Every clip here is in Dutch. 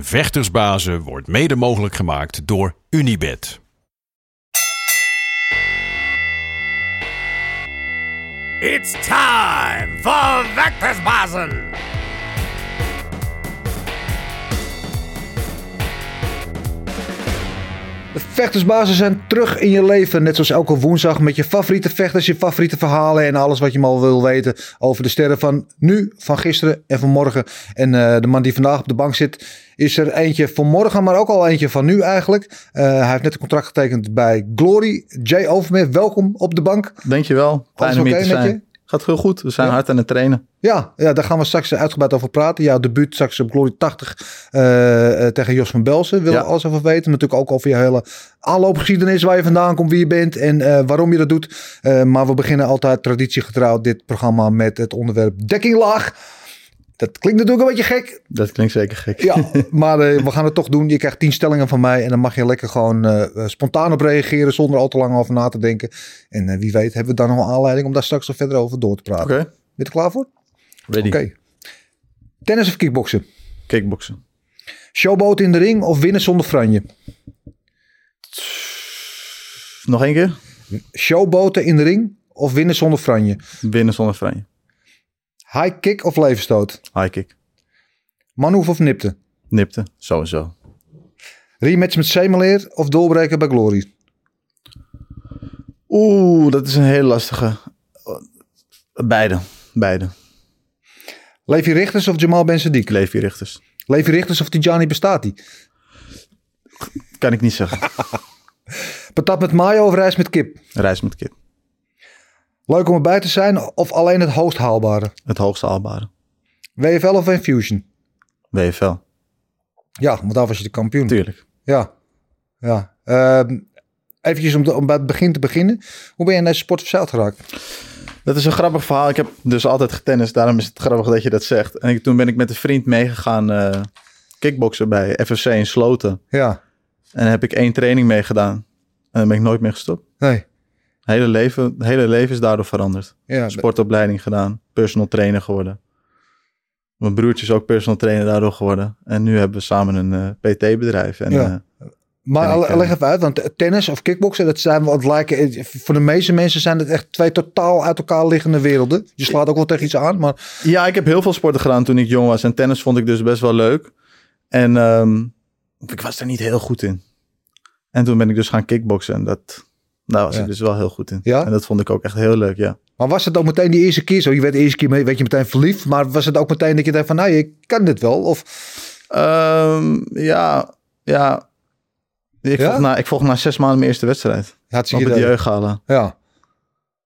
Vechtersbazen wordt mede mogelijk gemaakt door Unibed. It's time for Vectorsbazen! De vechtersbazen zijn terug in je leven. Net zoals elke woensdag met je favoriete vechters, je favoriete verhalen en alles wat je maar wil weten over de sterren van nu, van gisteren en van morgen. En eh, de man die vandaag op de bank zit, is er eentje van morgen, maar ook al eentje van nu eigenlijk. Eh, hij heeft net een contract getekend bij Glory. Jay Overmeer, welkom op de bank. Dankjewel. Fijn om oké hier te met zijn. Gaat heel goed. We zijn Ja? hard aan het trainen. Ja, ja, daar gaan we straks uitgebreid over praten. Jouw debuut straks op Glory 80 eh, eh, tegen Jos van Belsen. Wil Ja. we alles over weten. Maar natuurlijk ook over je hele aanloopgeschiedenis. Waar je vandaan komt, wie je bent en eh, waarom je dat doet. Eh, maar we beginnen altijd traditiegetrouw dit programma met het onderwerp dekking laag. Dat klinkt natuurlijk een beetje gek. Dat klinkt zeker gek. Ja, maar eh, we gaan het toch doen. Je krijgt tien stellingen van mij. En dan mag je lekker gewoon eh, eh, spontaan op reageren. Zonder al te lang over na te denken. En eh, wie weet hebben we dan nog een aanleiding om daar straks nog verder over door te praten. Oké. Ben je er klaar voor? Ready. Oké. Tennis of kickboksen? Kickboksen. Showboat in de ring of winnen zonder franje? Nog één keer. Showboten in de ring of winnen zonder franje? Winnen zonder franje. High kick of levenstoot? High kick. Manhoef of nipte? Nipte. Sowieso. Rematch met Semeleer of doorbreken bij Glory? Oeh, dat is een hele lastige. Beide. Beide. Levi Richters of Jamal Ben Sadiq? Levi Richters. Levi Richters of Tijani Bestati? Kan ik niet zeggen. Patat met mayo of rijst met kip? Reis met kip. Leuk om erbij te zijn of alleen het hoogst haalbare? Het hoogste haalbare. WFL of Infusion? WFL. Ja, want daar was je de kampioen. Tuurlijk. Ja, ja. Even eventjes om, de- om bij het begin te beginnen. Hoe ben je in deze sport verzeild geraakt? Dat is een grappig verhaal. Ik heb dus altijd getennist. Daarom is het grappig dat je dat zegt. En ik, toen ben ik met een vriend meegegaan eh kickboksen bij FFC in Sloten. Ja, En daar heb ik één training mee gedaan. En dan ben ik nooit meer gestopt. nee. Het hele leven, het hele leven is daardoor veranderd. Ja, Sportopleiding gedaan, personal trainer geworden. Mijn broertje is ook personal trainer daardoor geworden. En nu hebben we samen een PT-bedrijf. En, Ja. eh, Maar En ik, eh, le- leg even uit, want tennis of kickboksen, dat zijn wat lijken. eh, Voor de meeste mensen zijn het echt twee totaal uit elkaar liggende werelden. Je slaat ook wel tegen iets aan, maar ja, ik heb heel veel sporten gedaan toen ik jong was. En tennis vond ik dus best wel leuk. En ehm, ik was er niet heel goed in. En toen ben ik dus gaan kickboksen. En dat, daar was Ja. ik dus wel heel goed in. Ja? En dat vond ik ook echt heel leuk, ja. Maar was het ook meteen die eerste keer zo? Je werd de eerste keer mee, werd je meteen verliefd. Maar was het ook meteen dat je dacht van, nou, ik kan dit wel? Of, Ehm, ja, ja. Ik, Ja? Volg na, ik volg na zes maanden mijn eerste wedstrijd. had Op je het jeugdgala. Ja,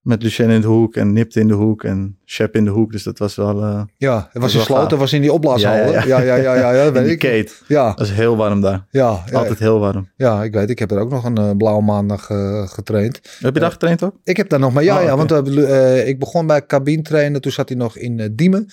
Met Lucien in de hoek en Nipt in de hoek en Shep in de hoek. Dus dat was wel... eh ja. Het was is in wel sloten, gaaf. was in die opblaashal. Ja, hè? Ja, ja, ja, ja, ja, ja, dat in weet die ik. Kate. Ja, Dat is heel warm daar. ja, ja, Altijd heel warm. ja, ik weet. Ik heb er ook nog een eh, blauwe maandag eh, getraind. Heb je daar getraind ook? Ik heb daar nog maar ja, Oh, ja oké. want eh, eh, ik begon bij cabine trainen. Toen zat hij nog in eh, Diemen.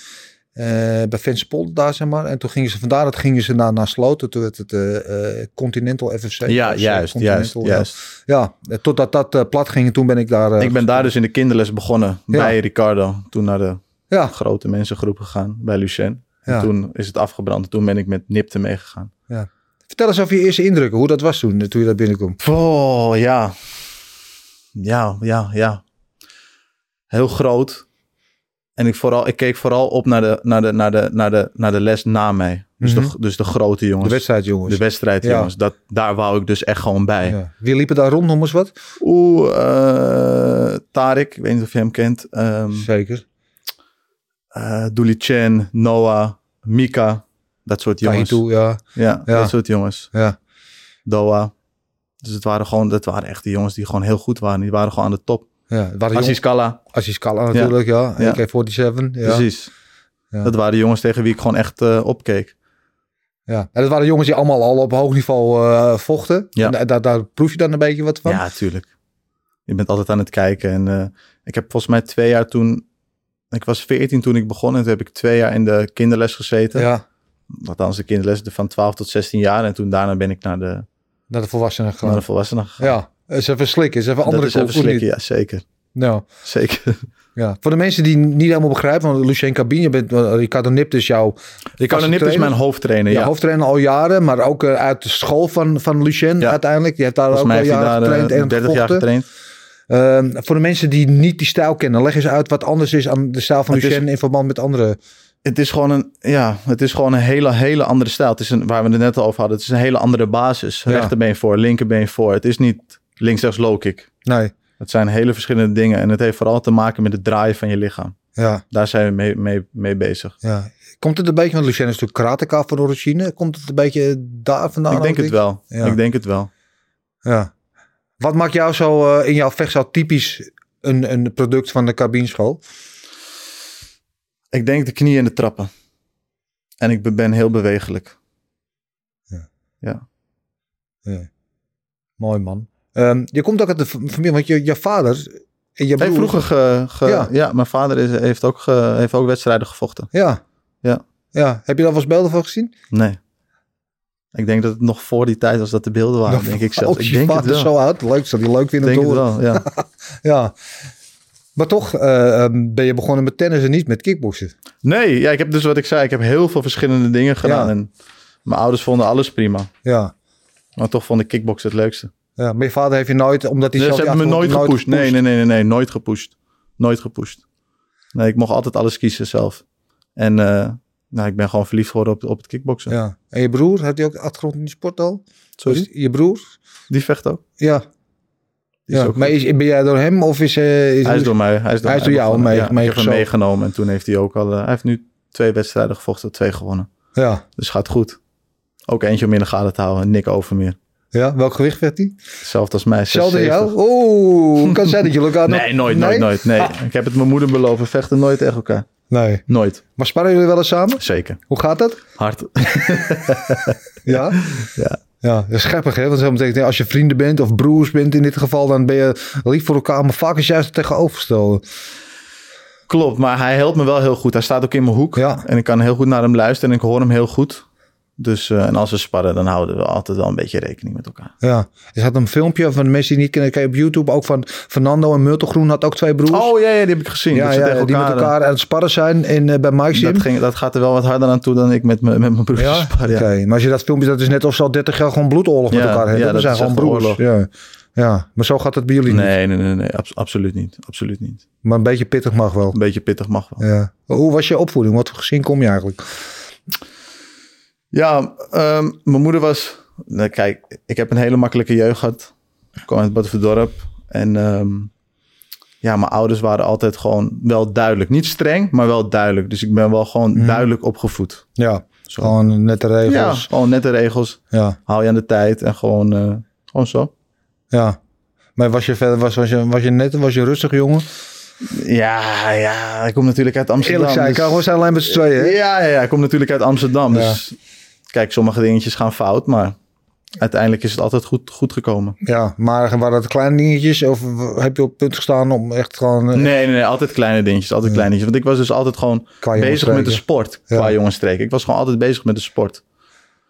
eh, bij Venspol daar zeg maar. En toen gingen ze vandaar dat gingen ze naar, naar Sloten. Toen werd het eh, eh, Continental FFC. Ja, Dus, eh, juist, juist, Continental, ja. juist. Ja, eh, totdat dat eh, plat ging. En toen ben ik daar. eh, Ik ben daar dus in de kinderles begonnen Ja. bij Ricardo. Toen naar de Ja, grote mensengroep gegaan bij Lucien. En Ja. toen is het afgebrand. Toen ben ik met Nipte meegegaan. vertel eens over je eerste indrukken. Hoe dat was toen, eh, toen je daar binnenkwam. Oh, ja. Ja, ja, ja. Heel groot. En ik, vooral, ik keek vooral op naar de, naar de, naar de, naar de, naar de les na mij. Dus, Mhm. de, dus de grote jongens. De wedstrijd, jongens. De wedstrijd, Ja. jongens. Dat, daar wou ik dus echt gewoon bij. Ja. Wie liepen daar rond, noem eens wat? Oeh, eh, Tarek, ik weet niet of je hem kent. Ehm Zeker. eh Dooley Chen, Noah, Mika. Dat soort jongens. Tahitu, ja. Ja, Ja. dat soort jongens. ja. Doha. Dus het waren gewoon, dat waren echt de jongens die gewoon heel goed waren. Die waren gewoon aan de top. ja. Het waren Aziz jongens- Kalla. Aziz Kalla natuurlijk, ja. Ja. AK-47, ja. Precies. Ja. Dat waren de jongens tegen wie ik gewoon echt eh, opkeek. Ja. En dat waren jongens die allemaal al op hoog niveau eh, vochten. Ja. En da- daar, daar proef je dan een beetje wat van. Ja, tuurlijk. Je bent altijd aan het kijken. En eh, ik heb volgens mij twee jaar toen... Ik was veertien toen ik begon. En toen heb ik twee jaar in de kinderles gezeten. Ja, Althans, de kinderles van 12 tot 16 jaar. En toen daarna ben ik naar de, naar de volwassenen naar de gegaan. volwassenen gegaan. Ja, is even slikken, is even Dat andere is even koek, of slikken, niet? ja, zeker. Nou, Zeker. ja. Voor de mensen die niet helemaal begrijpen, want Lucien Cabine, je bent, eh, Ricardo Nipt is jouw... Carlo Nip is mijn hoofdtrainer, ja. Ja, hoofdtrainer al jaren, maar ook eh, uit de school van, van Lucien Ja. uiteindelijk. Die heeft daar Volgens mij ook al heeft hij daar jaren eh, getraind en 30 jaar gevochten. getraind. Ehm, voor de mensen die niet die stijl kennen, leg eens uit wat anders is aan de stijl van Het is- Lucien in verband met andere. Het is gewoon een, ja, het is gewoon een hele, hele andere stijl. Het is een, waar we het net al over hadden. Het is een hele andere basis. Ja. Rechterbeen voor, linkerbeen voor. Het is niet links, rechts, low kick. Nee, Het zijn hele verschillende dingen. En het heeft vooral te maken met het draaien van je lichaam. ja, Daar zijn we mee, mee, mee bezig. ja. Komt het een beetje, want Lucien is natuurlijk karateka van origine. Komt het een beetje daar vandaan? ik denk ook, het wel. Nou, Ja. Ik denk het wel. Ja. Wat maakt jou zo eh, in jouw vechtzaal typisch een, een product van de cabineschool? Ik denk de knieën en de trappen. En ik be- ben heel bewegelijk. Mooi man. Ehm, je komt ook uit de f- familie, want je, je vader en je broer- Hij heeft vroeger ge, ge- Ja. ja. mijn vader is, heeft, ook ge- heeft ook wedstrijden gevochten. Ja. Ja. ja. Heb je daar wel eens beelden van gezien? Nee. Ik denk dat het nog voor die tijd was dat de beelden waren. denk ik zelf. Ook Ik Nou, oh, je denk het vader wel. zo uit. Leuk, zou die leuk ik vinden om denk te het horen. wel, ja. Ja. Maar toch eh, ehm, ben je begonnen met tennis en niet met kickboksen. Nee, ja, ik heb dus wat ik zei. Ik heb heel veel verschillende dingen gedaan. Ja. En mijn ouders vonden alles prima. Ja. Maar toch vond ik kickbox het leukste. ja. Maar je vader heeft je nooit, omdat hij Dus zelf... ze die hebben me nooit achtergrond gepusht. Nee, nee, nee, nee, nee. Nooit gepusht. Nooit gepusht. Nee, ik mocht altijd alles kiezen zelf. En eh, nou, ik ben gewoon verliefd geworden op, op het kickboksen. Ja. En je broer, heeft hij ook achtergrond in die sport al? Sorry? Je broer? Die vecht ook. Ja. Die is ja. ook Maar goed. is, ben jij door hem of is... eh, is hij is door mij. Hij is door, Hij is mij door jou begonnen. mee- Ja, ik heb hem meegezogen. meegenomen. En toen heeft hij ook al... eh, hij heeft nu twee wedstrijden gevochten. Twee gewonnen. Ja. Dus gaat goed. Ook eentje om in de gaten te houden. Nick Overmeer. Ja, welk gewicht werd hij? Hetzelfde als mij. Hetzelfde 76. jou? Oeh, kan zijn dat jullie elkaar nog- Ah. Nee, nooit, nooit, nooit. Nee. Ik heb het mijn moeder beloven. We vechten nooit tegen elkaar. Nee. Nooit. Maar sparren jullie wel eens samen? Zeker. Hoe gaat dat? Hard. Ja? Ja. Ja, dat is grappig hè, want dat betekent als je vrienden bent of broers bent in dit geval, dan ben je lief voor elkaar, maar vaak is juist het tegenovergestelde. Klopt, maar hij helpt me wel heel goed. Hij staat ook in mijn hoek. Ja. En ik kan heel goed naar hem luisteren en ik hoor hem heel goed. Dus, eh, en als we sparren, dan houden we altijd wel een beetje rekening met elkaar. Ja, er had een filmpje van de mensen die niet kennen, kan je op YouTube ook van Fernando en Murtelgroen had ook twee broers. Oh ja, ja, die heb ik gezien. ja, dat ze ja, tegen die met elkaar, eh, elkaar aan het sparren zijn in, eh, bij Mike Sim. Dat, ging, dat gaat er wel wat harder aan toe dan ik met, mijn- met mijn broers ja, spar. Ja. Oké, maar als je dat filmpje, dat is net of ze al 30 jaar gewoon bloedoorlog met Ja, elkaar hebben. ja, we dat zijn is gewoon echt broers. oorlog. Ja. ja, maar zo gaat het bij jullie niet. Nee, nee, nee, nee abs- absoluut niet. Absoluut niet. Maar een beetje pittig mag wel. Een beetje pittig mag wel. Ja. Hoe was je opvoeding? Wat voor gezin kom je eigenlijk? Ja, ehm, mijn moeder was... Nou, kijk, ik heb een hele makkelijke jeugd gehad. Ik kwam uit Badverdorp. En ehm, ja, mijn ouders waren altijd gewoon wel duidelijk. Niet streng, maar wel duidelijk. Dus ik ben wel gewoon duidelijk opgevoed. Ja, Zo. gewoon nette Ja, regels. gewoon nette regels. Ja, Hou je aan de tijd en gewoon, eh, gewoon zo. ja. Maar was je verder, was, was, je, was je net, was je rustig jongen? Ja, ja, ik kom natuurlijk uit Amsterdam. Eerlijk zijn, dus- we zijn alleen met z'n tweeën. hè? Ja, ja, ja, ik kom natuurlijk uit Amsterdam. Ja. Dus kijk, sommige dingetjes gaan fout, maar uiteindelijk is het altijd goed, goed gekomen. Ja, maar waren dat kleine dingetjes? Of w- heb je op het punt gestaan om echt gewoon... eh, Nee, nee, nee, altijd kleine dingetjes, altijd kleine dingetjes. Want ik was dus altijd gewoon Qua bezig met de jongensstreken. sport, Ja. qua jongensstreken. Ik was gewoon altijd bezig met de sport.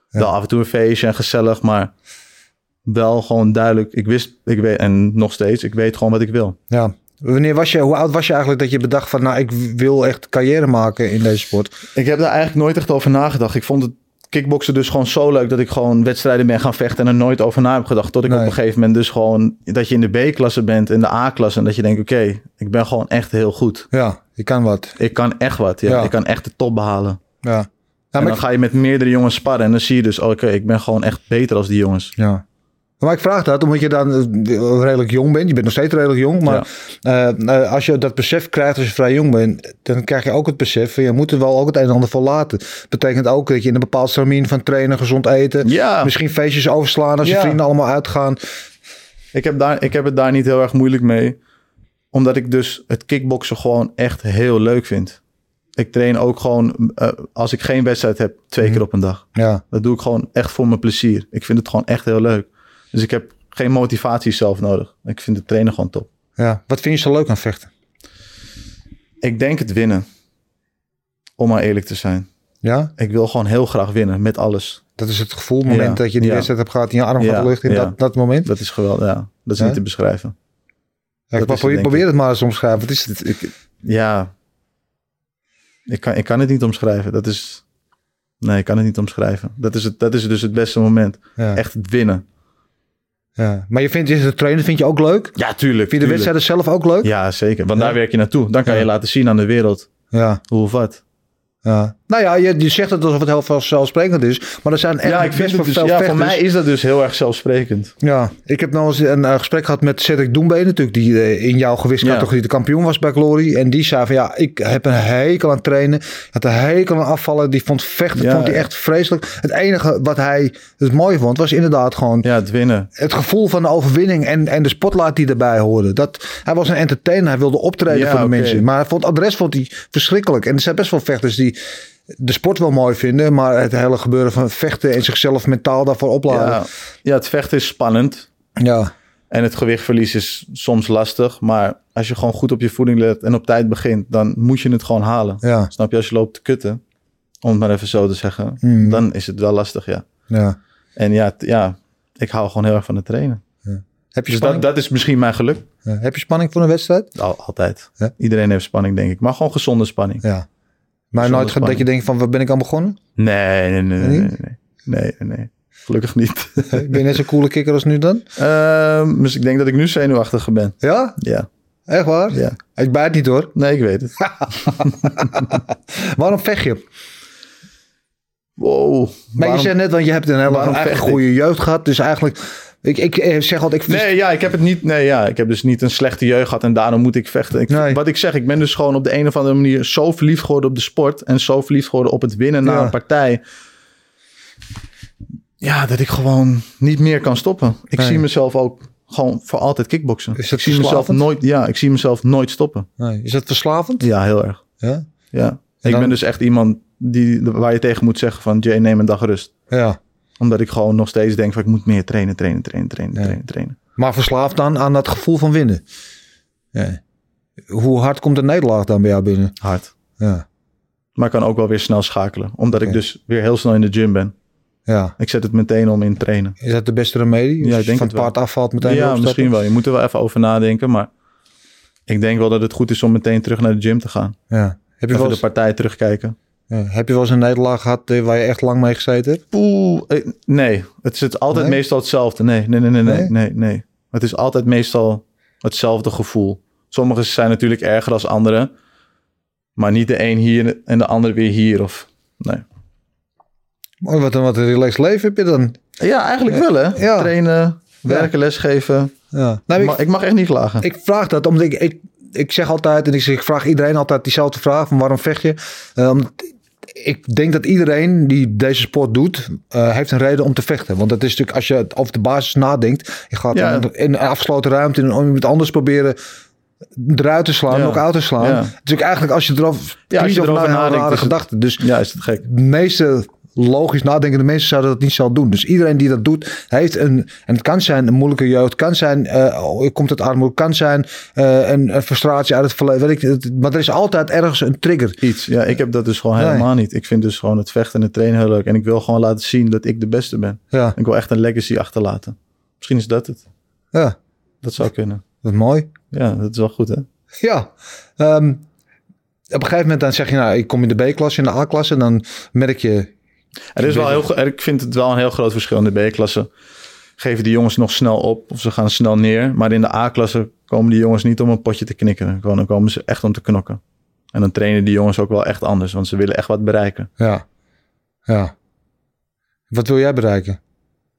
Wel af en toe een feestje en gezellig, maar wel gewoon duidelijk. Ik wist, ik weet, en nog steeds, ik weet gewoon wat ik wil. Ja. Wanneer was je, hoe oud was je eigenlijk dat je bedacht van... nou, ik wil echt carrière maken in deze sport? Ik heb daar eigenlijk nooit echt over nagedacht. Ik vond het kickboksen dus gewoon zo leuk dat ik gewoon wedstrijden ben gaan vechten en er nooit over na heb gedacht. Tot ik Nee. op een gegeven moment dus gewoon, dat je in de B-klasse bent, in de A-klasse en dat je denkt, oké, ik ben gewoon echt heel goed. Ja, je kan wat. Ik kan echt wat, ja. Ja. Ik kan echt de top behalen. Ja. Ja, en maar dan ik- ga je met meerdere jongens sparren. En dan zie je dus, oké, ik ben gewoon echt beter als die jongens. Ja. Maar ik vraag dat omdat je dan eh, redelijk jong bent. Je bent nog steeds redelijk jong. Maar eh, eh, als je dat besef krijgt als je vrij jong bent, dan krijg je ook het besef van je moet er wel ook het een en ander voor laten. Betekent ook dat je in een bepaald stramien van trainen, gezond eten, Ja, misschien feestjes overslaan als je Ja. vrienden allemaal uitgaan. ik heb, daar, ik heb het daar niet heel erg moeilijk mee. Omdat ik dus het kickboksen gewoon echt heel leuk vind. Ik train ook gewoon, eh, als ik geen wedstrijd heb, twee keer op een dag. Ja, Dat doe ik gewoon echt voor mijn plezier. Ik vind het gewoon echt heel leuk. Dus ik heb geen motivatie zelf nodig. Ik vind het trainen gewoon top. ja. Wat vind je zo leuk aan vechten? Ik denk het winnen. Om maar eerlijk te zijn. Ja, Ik wil gewoon heel graag winnen met alles. dat is het gevoel, het moment Ja. dat je die Ja. wedstrijd hebt gehad in je arm gaat Ja. de lucht in Ja. dat, dat moment. Dat is geweldig, ja. Dat is Ja? niet te beschrijven. Ja, ik dat is probeer, het, denk probeer ik. het maar eens omschrijven. Wat is het? Ja. Ik kan, ik kan het niet omschrijven. Dat is... Nee, ik kan het niet omschrijven. Dat is, het, dat is dus het beste moment. Ja. Echt het winnen. Ja. Maar je vindt het trainen vind je ook leuk? Vind Ja, tuurlijk. je de tuurlijk. wedstrijden zelf ook leuk? Ja, zeker. Want Ja. daar werk je naartoe. Dan kan Ja. je laten zien aan de wereld ja. hoe of wat. Ja. Nou ja, je, je zegt het alsof het heel vanzelfsprekend is. Maar er zijn echt Ja, ik best vind wel het dus, veel ja, voor vechters. mij is dat dus heel erg zelfsprekend. Ja, ik heb nou eens een eh, gesprek gehad met Cedric Doembeen natuurlijk. Die eh, in jouw gewichtscategorie de kampioen was bij Glory. En die zei van ja, ik heb een hekel aan trainen. Had een hekel aan afvallen. Die vond vechten Ja, vond hij ja. echt vreselijk. Het enige wat hij het mooie vond was inderdaad gewoon... Ja, het winnen. Het gevoel van de overwinning en, en de spotlight die erbij hoorde. Dat, hij was een entertainer, hij wilde optreden Ja, voor de oké. mensen. Maar hij vond, het adres vond hij verschrikkelijk. En er zijn best wel vechters die de sport wel mooi vinden. Maar het hele gebeuren van vechten en zichzelf mentaal daarvoor Ja. opladen. ja, het vechten is spannend. Ja, En het gewichtverlies is soms lastig. Maar als je gewoon goed op je voeding let en op tijd begint, dan moet je het gewoon halen. ja, Snap je? Als je loopt te kutten, om het maar even zo te zeggen, Mm. dan is het wel lastig, ja. ja. En ja, t- ja ik hou gewoon heel erg van het trainen. Heb, je Dus dat, spanning, dat is misschien mijn geluk. ja. heb je spanning voor een wedstrijd? Al- altijd. Ja. Iedereen heeft spanning, denk ik. Maar gewoon gezonde spanning. Ja. Maar nooit ge- dat je spanning. denkt van, waar ben ik aan begonnen? Nee, nee, nee, nee, Nee? nee. nee. Nee, nee, nee. Gelukkig niet. ben je net zo'n coole kikker als nu dan? Ehm, dus ik denk dat ik nu zenuwachtiger ben. Ja, Ja, echt waar? ja. Ik bijt niet hoor. Nee, ik weet het. Waarom vecht je? Wow. Maar Waarom- je zegt net, want je hebt een hele waarom eigenlijk vecht ik? goede jeugd gehad. Dus eigenlijk, ik, ik eh, zeg altijd, ik Nee, ja, ik heb het niet. Nee, ja, ik heb dus niet een slechte jeugd gehad en daarom moet ik vechten. Ik, Nee. Wat ik zeg, ik ben dus gewoon op de een of andere manier zo verliefd geworden op de sport en zo verliefd geworden op het winnen na Ja. een partij. Ja, dat ik gewoon niet meer kan stoppen. Ik Nee. zie mezelf ook gewoon voor altijd kickboksen. Is dat ik zie mezelf verslavend? nooit. Ja, ik zie mezelf nooit stoppen. Nee, Is dat verslavend? Ja, heel erg. Ja. Ja. En Ik dan- ben dus echt iemand die, waar je tegen moet zeggen van Jay, neem een dag rust. ja. Omdat ik gewoon nog steeds denk van ik moet meer trainen, trainen, trainen, trainen, Ja. trainen, trainen. Maar verslaafd dan aan dat gevoel van winnen. Ja. Hoe hard komt de nederlaag dan bij jou binnen? Hard. Ja. Maar ik kan ook wel weer snel schakelen. Omdat ik Oké. dus weer heel snel in de gym ben. ja. Ik zet het meteen om in trainen. Is dat de beste remedie? Ja, Als ik je denk van het wel. paard afvalt meteen weer Ja, opstappen? misschien wel. Je moet er wel even over nadenken. Maar ik denk wel dat het goed is om meteen terug naar de gym te gaan. Ja. Heb, je Even wel de eens, partij terugkijken. ja. heb je wel eens een nederlaag gehad eh, waar je echt lang mee gezeten hebt? Poeh. eh, Nee, het zit altijd Nee? meestal hetzelfde. Nee, nee, nee, nee, nee, Nee? nee, nee. Het is altijd meestal hetzelfde gevoel. Sommige zijn natuurlijk erger dan anderen. Maar niet de een hier en de ander weer hier. Of, nee. Oh, wat, een, wat een relaxed leven heb je dan. Ja, eigenlijk wel hè. Ja. Trainen, werken, lesgeven. Ja. Nou, ik, Maar ik mag echt niet klagen. ik vraag dat omdat ik, ik, ik zeg altijd en ik, zeg- ik vraag iedereen altijd diezelfde vraag van waarom vecht je? Eh, omdat ik denk dat iedereen die deze sport doet, eh, heeft een reden om te vechten. Want dat is natuurlijk, als je het over de basis nadenkt, je gaat Ja. in, een- in een afgesloten ruimte in een, iemand anders proberen eruit te slaan, Ja. knock out te slaan. Ja. Het is natuurlijk eigenlijk als je erover, je kritisch erover nadenkt, een nadenkt, rare is het- gedachte. Dus Ja, is het gek. de meeste logisch nadenkende mensen zouden dat niet zo doen. Dus iedereen die dat doet, heeft een... En het kan zijn een moeilijke jeugd, kan zijn... eh, oh, je komt uit armoede, kan zijn eh, een, een frustratie uit het verleden. Weet ik, het- maar er is altijd ergens een trigger. Iets. Ja, ik heb dat dus gewoon Nee. helemaal niet. Ik vind dus gewoon het vechten en het trainen heel leuk. En ik wil gewoon laten zien dat ik de beste ben. Ja, Ik wil echt een legacy achterlaten. Misschien is dat het. ja Dat zou kunnen. dat is mooi. Ja, dat is wel goed hè. Ja, ehm, op een gegeven moment dan zeg je... Nou, ik kom in de B-klasse, in de A-klasse. En dan merk je... Er is wel heel, gro- ik vind het wel een heel groot verschil in de B-klasse. Geven die jongens nog snel op of ze gaan snel neer. Maar in de A-klasse komen die jongens niet om een potje te knikken. Gewoon, Dan komen ze echt om te knokken. En dan trainen die jongens ook wel echt anders. Want ze willen echt wat bereiken. Ja, Ja. Wat wil jij bereiken?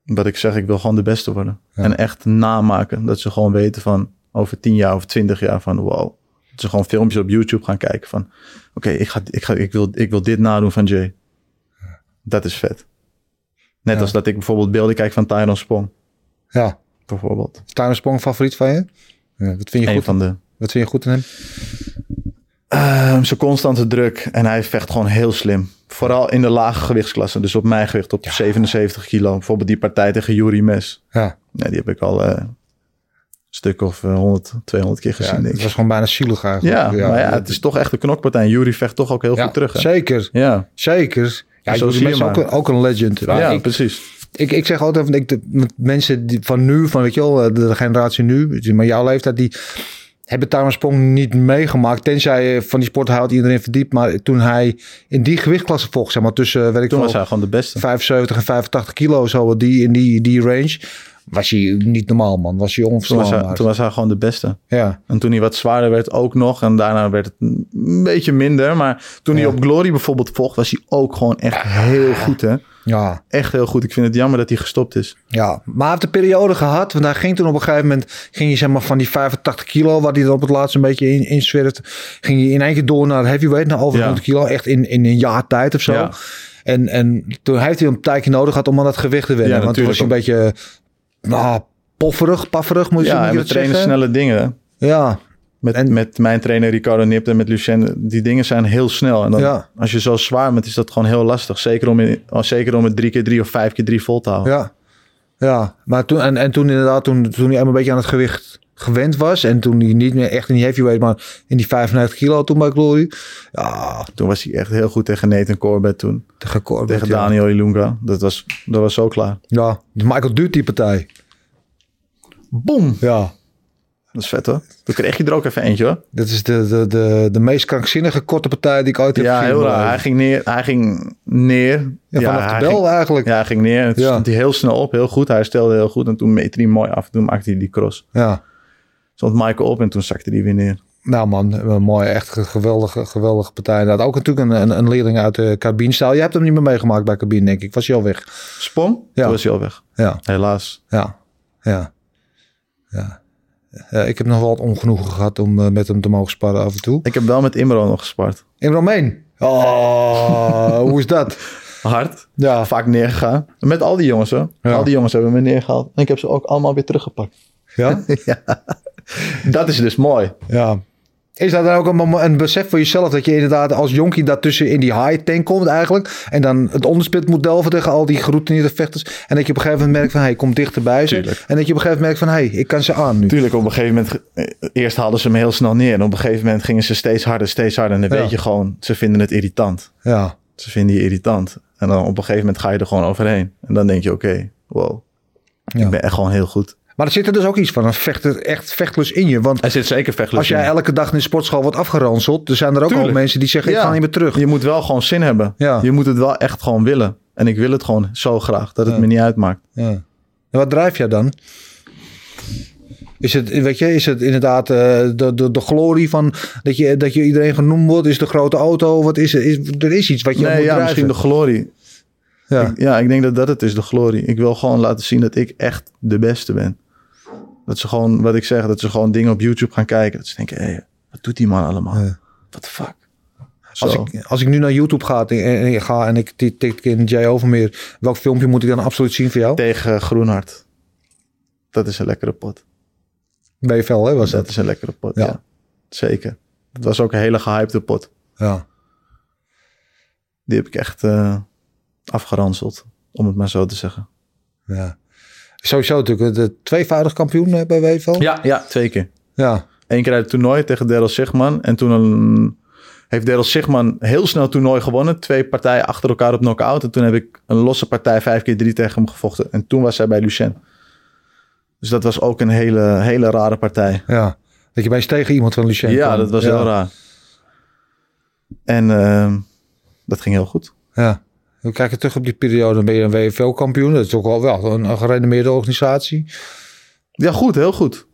Wat ik zeg, ik wil gewoon de beste worden. Ja. En echt namaken. Dat ze gewoon weten van over 10 jaar of 20 jaar van wow. Dat ze gewoon filmpjes op YouTube gaan kijken van oké, ik, ga, ik, ga, ik, wil, ik wil dit nadoen van Jay. Dat is vet. Net Ja. als dat ik bijvoorbeeld beelden kijk van Tyron Spong. Ja. Bijvoorbeeld. Tuin Sprong favoriet van je? Ja, wat, vind je Een goed, van de wat vind je goed in hem? Ehm, zijn constante druk. En hij vecht gewoon heel slim. Vooral in de lage gewichtsklassen. Dus op mijn gewicht, op 77 kilo. Bijvoorbeeld die partij tegen Yuri Mes. Ja. Nee, die heb ik al eh, een stuk of eh, 100, 200 keer ja gezien. denk het ik. was gewoon bijna zielig eigenlijk. ja, maar ja, het is toch echt een knokpartij. En Yuri vecht toch ook heel Ja, goed terug. Hè? Zeker, Ja, zeker. Ja, Zo Zo zie je is maar. ook een, ook een legend. ja, ik, precies. ik, ik zeg altijd, want ik, de, met mensen die, van nu, van weet je wel, eh, de generatie nu, die- maar jouw leeftijd, die hebben Tuin Sprong niet meegemaakt. Tenzij je van die sport houdt, iedereen verdiept. Maar toen hij in die gewichtklasse vocht, zeg maar tussen, eh, weet ik Toen veel, was hij gewoon de beste. 75 en 85 kilo, zo die, in die, die range, was hij niet normaal, man. Was hij Toen was, hij, onverslaanbaar. toen was hij gewoon de beste. Ja, En toen hij wat zwaarder werd ook nog. En daarna werd het een beetje minder. Maar toen Ja. hij op Glory bijvoorbeeld vocht, was hij ook gewoon echt heel goed. Hè? ja, echt heel goed. Ik vind het jammer dat hij gestopt is. ja. Maar hij heeft de periode gehad, want hij ging toen op een gegeven moment, ging je zeg maar van die 85 kilo, waar hij er op het laatst een beetje in, in zwerft, ging je in één keer door naar heavyweight, naar over Ja. 100 kilo, echt in, in een jaar tijd of zo. Ja. En, en toen heeft hij een tijdje nodig gehad om aan dat gewicht te wennen, Ja, want toen was hij een beetje, nou, pofferig, pafferig, moet je ja, moet je en we dat trainen zeggen. snelle dingen. hè. Ja, Met, En- met mijn trainer Ricardo Nipt en met Lucien, die dingen zijn heel snel. En dan, Ja. als je zo zwaar bent, is dat gewoon heel lastig. Zeker om, in, oh, zeker om het drie keer drie of vijf keer drie vol te houden. Ja, ja. Maar toen, en, en toen inderdaad, toen, toen hij helemaal een beetje aan het gewicht gewend was. En toen hij niet meer echt in die heavyweight, maar in die 95 kilo toen bij Glory. Ja, Toen was hij echt heel goed tegen Nathan Corbett toen. tegen Corbett. tegen ja. Daniel Ilunga. Dat was, dat was zo klaar. Ja, de Michael Duty die partij. Boom! Ja, Dat is vet hoor. Toen kreeg je er ook even eentje hoor. dat is de, de, de, de meest krankzinnige korte partij die ik ooit heb Ja, gezien. heel maar- raar. Hij ging neer. Hij ging neer. Ja, vanaf hij de bel ging- eigenlijk. Ja, Ja. hij ging neer. En toen Ja. stond hij heel snel op. Heel goed. Hij stelde heel goed. En toen meet hij mooi af. Toen maakte hij die cross. stond Michael op en toen zakte hij weer neer. Nou man, een mooie, echt een geweldige, geweldige partij. Inderdaad, ook natuurlijk een, een, een leerling uit de cabinestaal. Je hebt hem niet meer meegemaakt bij cabine, denk ik. Was hij al weg? Sprong, Ja. toen was hij al weg. Ja. Helaas. Ja, ja, ja. Ja, ik heb nog wel het ongenoegen gehad om eh, met hem te mogen sparren af en toe. Ik heb wel met Imro nog gespart. In Romein. Oh, hoe is dat? Hard. Ja, Vaak neergegaan. Met al die jongens hoor. Ja. Al die jongens hebben me neergehaald. En ik heb ze ook allemaal weer teruggepakt. ja? Dat is dus mooi. ja. Is dat dan ook een, mom- een besef voor jezelf dat je inderdaad als jonkie daartussen in die high tank komt eigenlijk. En dan het onderspit moet delven tegen al die geroutineerde vechters. En dat je op een gegeven moment merkt van, hé, hey, ik kom dichterbij ze. Tuurlijk. En dat je op een gegeven moment merkt van, hé, hey, ik kan ze aan nu. Tuurlijk, op een gegeven moment... eh, Eerst haalden ze me heel snel neer. En op een gegeven moment gingen ze steeds harder, steeds harder. En dan Ja. weet je gewoon, ze vinden het irritant. Ja, Ze vinden je irritant. En dan op een gegeven moment ga je er gewoon overheen. En dan denk je, oké, wow. Ja. Ik ben echt gewoon heel goed. maar er zit er dus ook iets van, een vechter, echt vechtlust in je. Want Er zit zeker vechtlust Als jij in. elke dag in de sportschool wordt afgeranseld, er zijn er ook Tuurlijk. al mensen die zeggen: Ik Ja. ga niet meer terug. Je moet wel gewoon zin hebben. Ja. Je moet het wel echt gewoon willen. En ik wil het gewoon zo graag dat het Ja. me niet uitmaakt. Ja. En wat drijf jij dan? Is het, weet je, is het inderdaad eh, de, de, de glorie van dat je, dat je iedereen genoemd wordt? Is de grote auto? Wat is, het? is Er is iets wat je nee, moet ja, drijven. misschien de glorie. ja. Ja, ik denk dat dat het is, de glorie. Ik wil gewoon laten zien dat ik echt de beste ben. Dat ze gewoon, wat ik zeg, dat ze gewoon dingen op YouTube gaan kijken. Dat ze denken, hé, wat doet die man allemaal? Ja. What the fuck? Zo. Als, ik, als ik nu naar YouTube ga en, en ik ga en ik tik tik in Jay Overmeer, welk filmpje moet ik dan absoluut zien voor jou? Tegen Groenhart. Dat is een lekkere pot. BFL, hè, was Dat dat? is een lekkere pot, Ja. ja. Zeker. Dat was ook een hele gehypte pot. Ja. Die heb ik echt eh, afgeranseld, om het maar zo te zeggen. ja. Sowieso natuurlijk eh, de tweevoudig kampioen eh, bij WFL. Ja, ja. Twee keer. ja. Eén keer uit het toernooi tegen Daryl Sigman. En toen een- heeft Daryl Sigman heel snel het toernooi gewonnen. Twee partijen achter elkaar op knock-out. En toen heb ik een losse partij vijf keer drie tegen hem gevochten. En toen was hij bij Lucien. Dus dat was ook een hele, hele rare partij. Ja. Dat je bij tegen iemand van Lucien ja, kwam. dat was heel raar. En ehm, dat ging heel goed. Ja. We kijken terug op die periode. Dan ben je een WFL-kampioen. Dat is ook wel, wel een, een gerenommeerde organisatie. Ja, goed. Heel goed.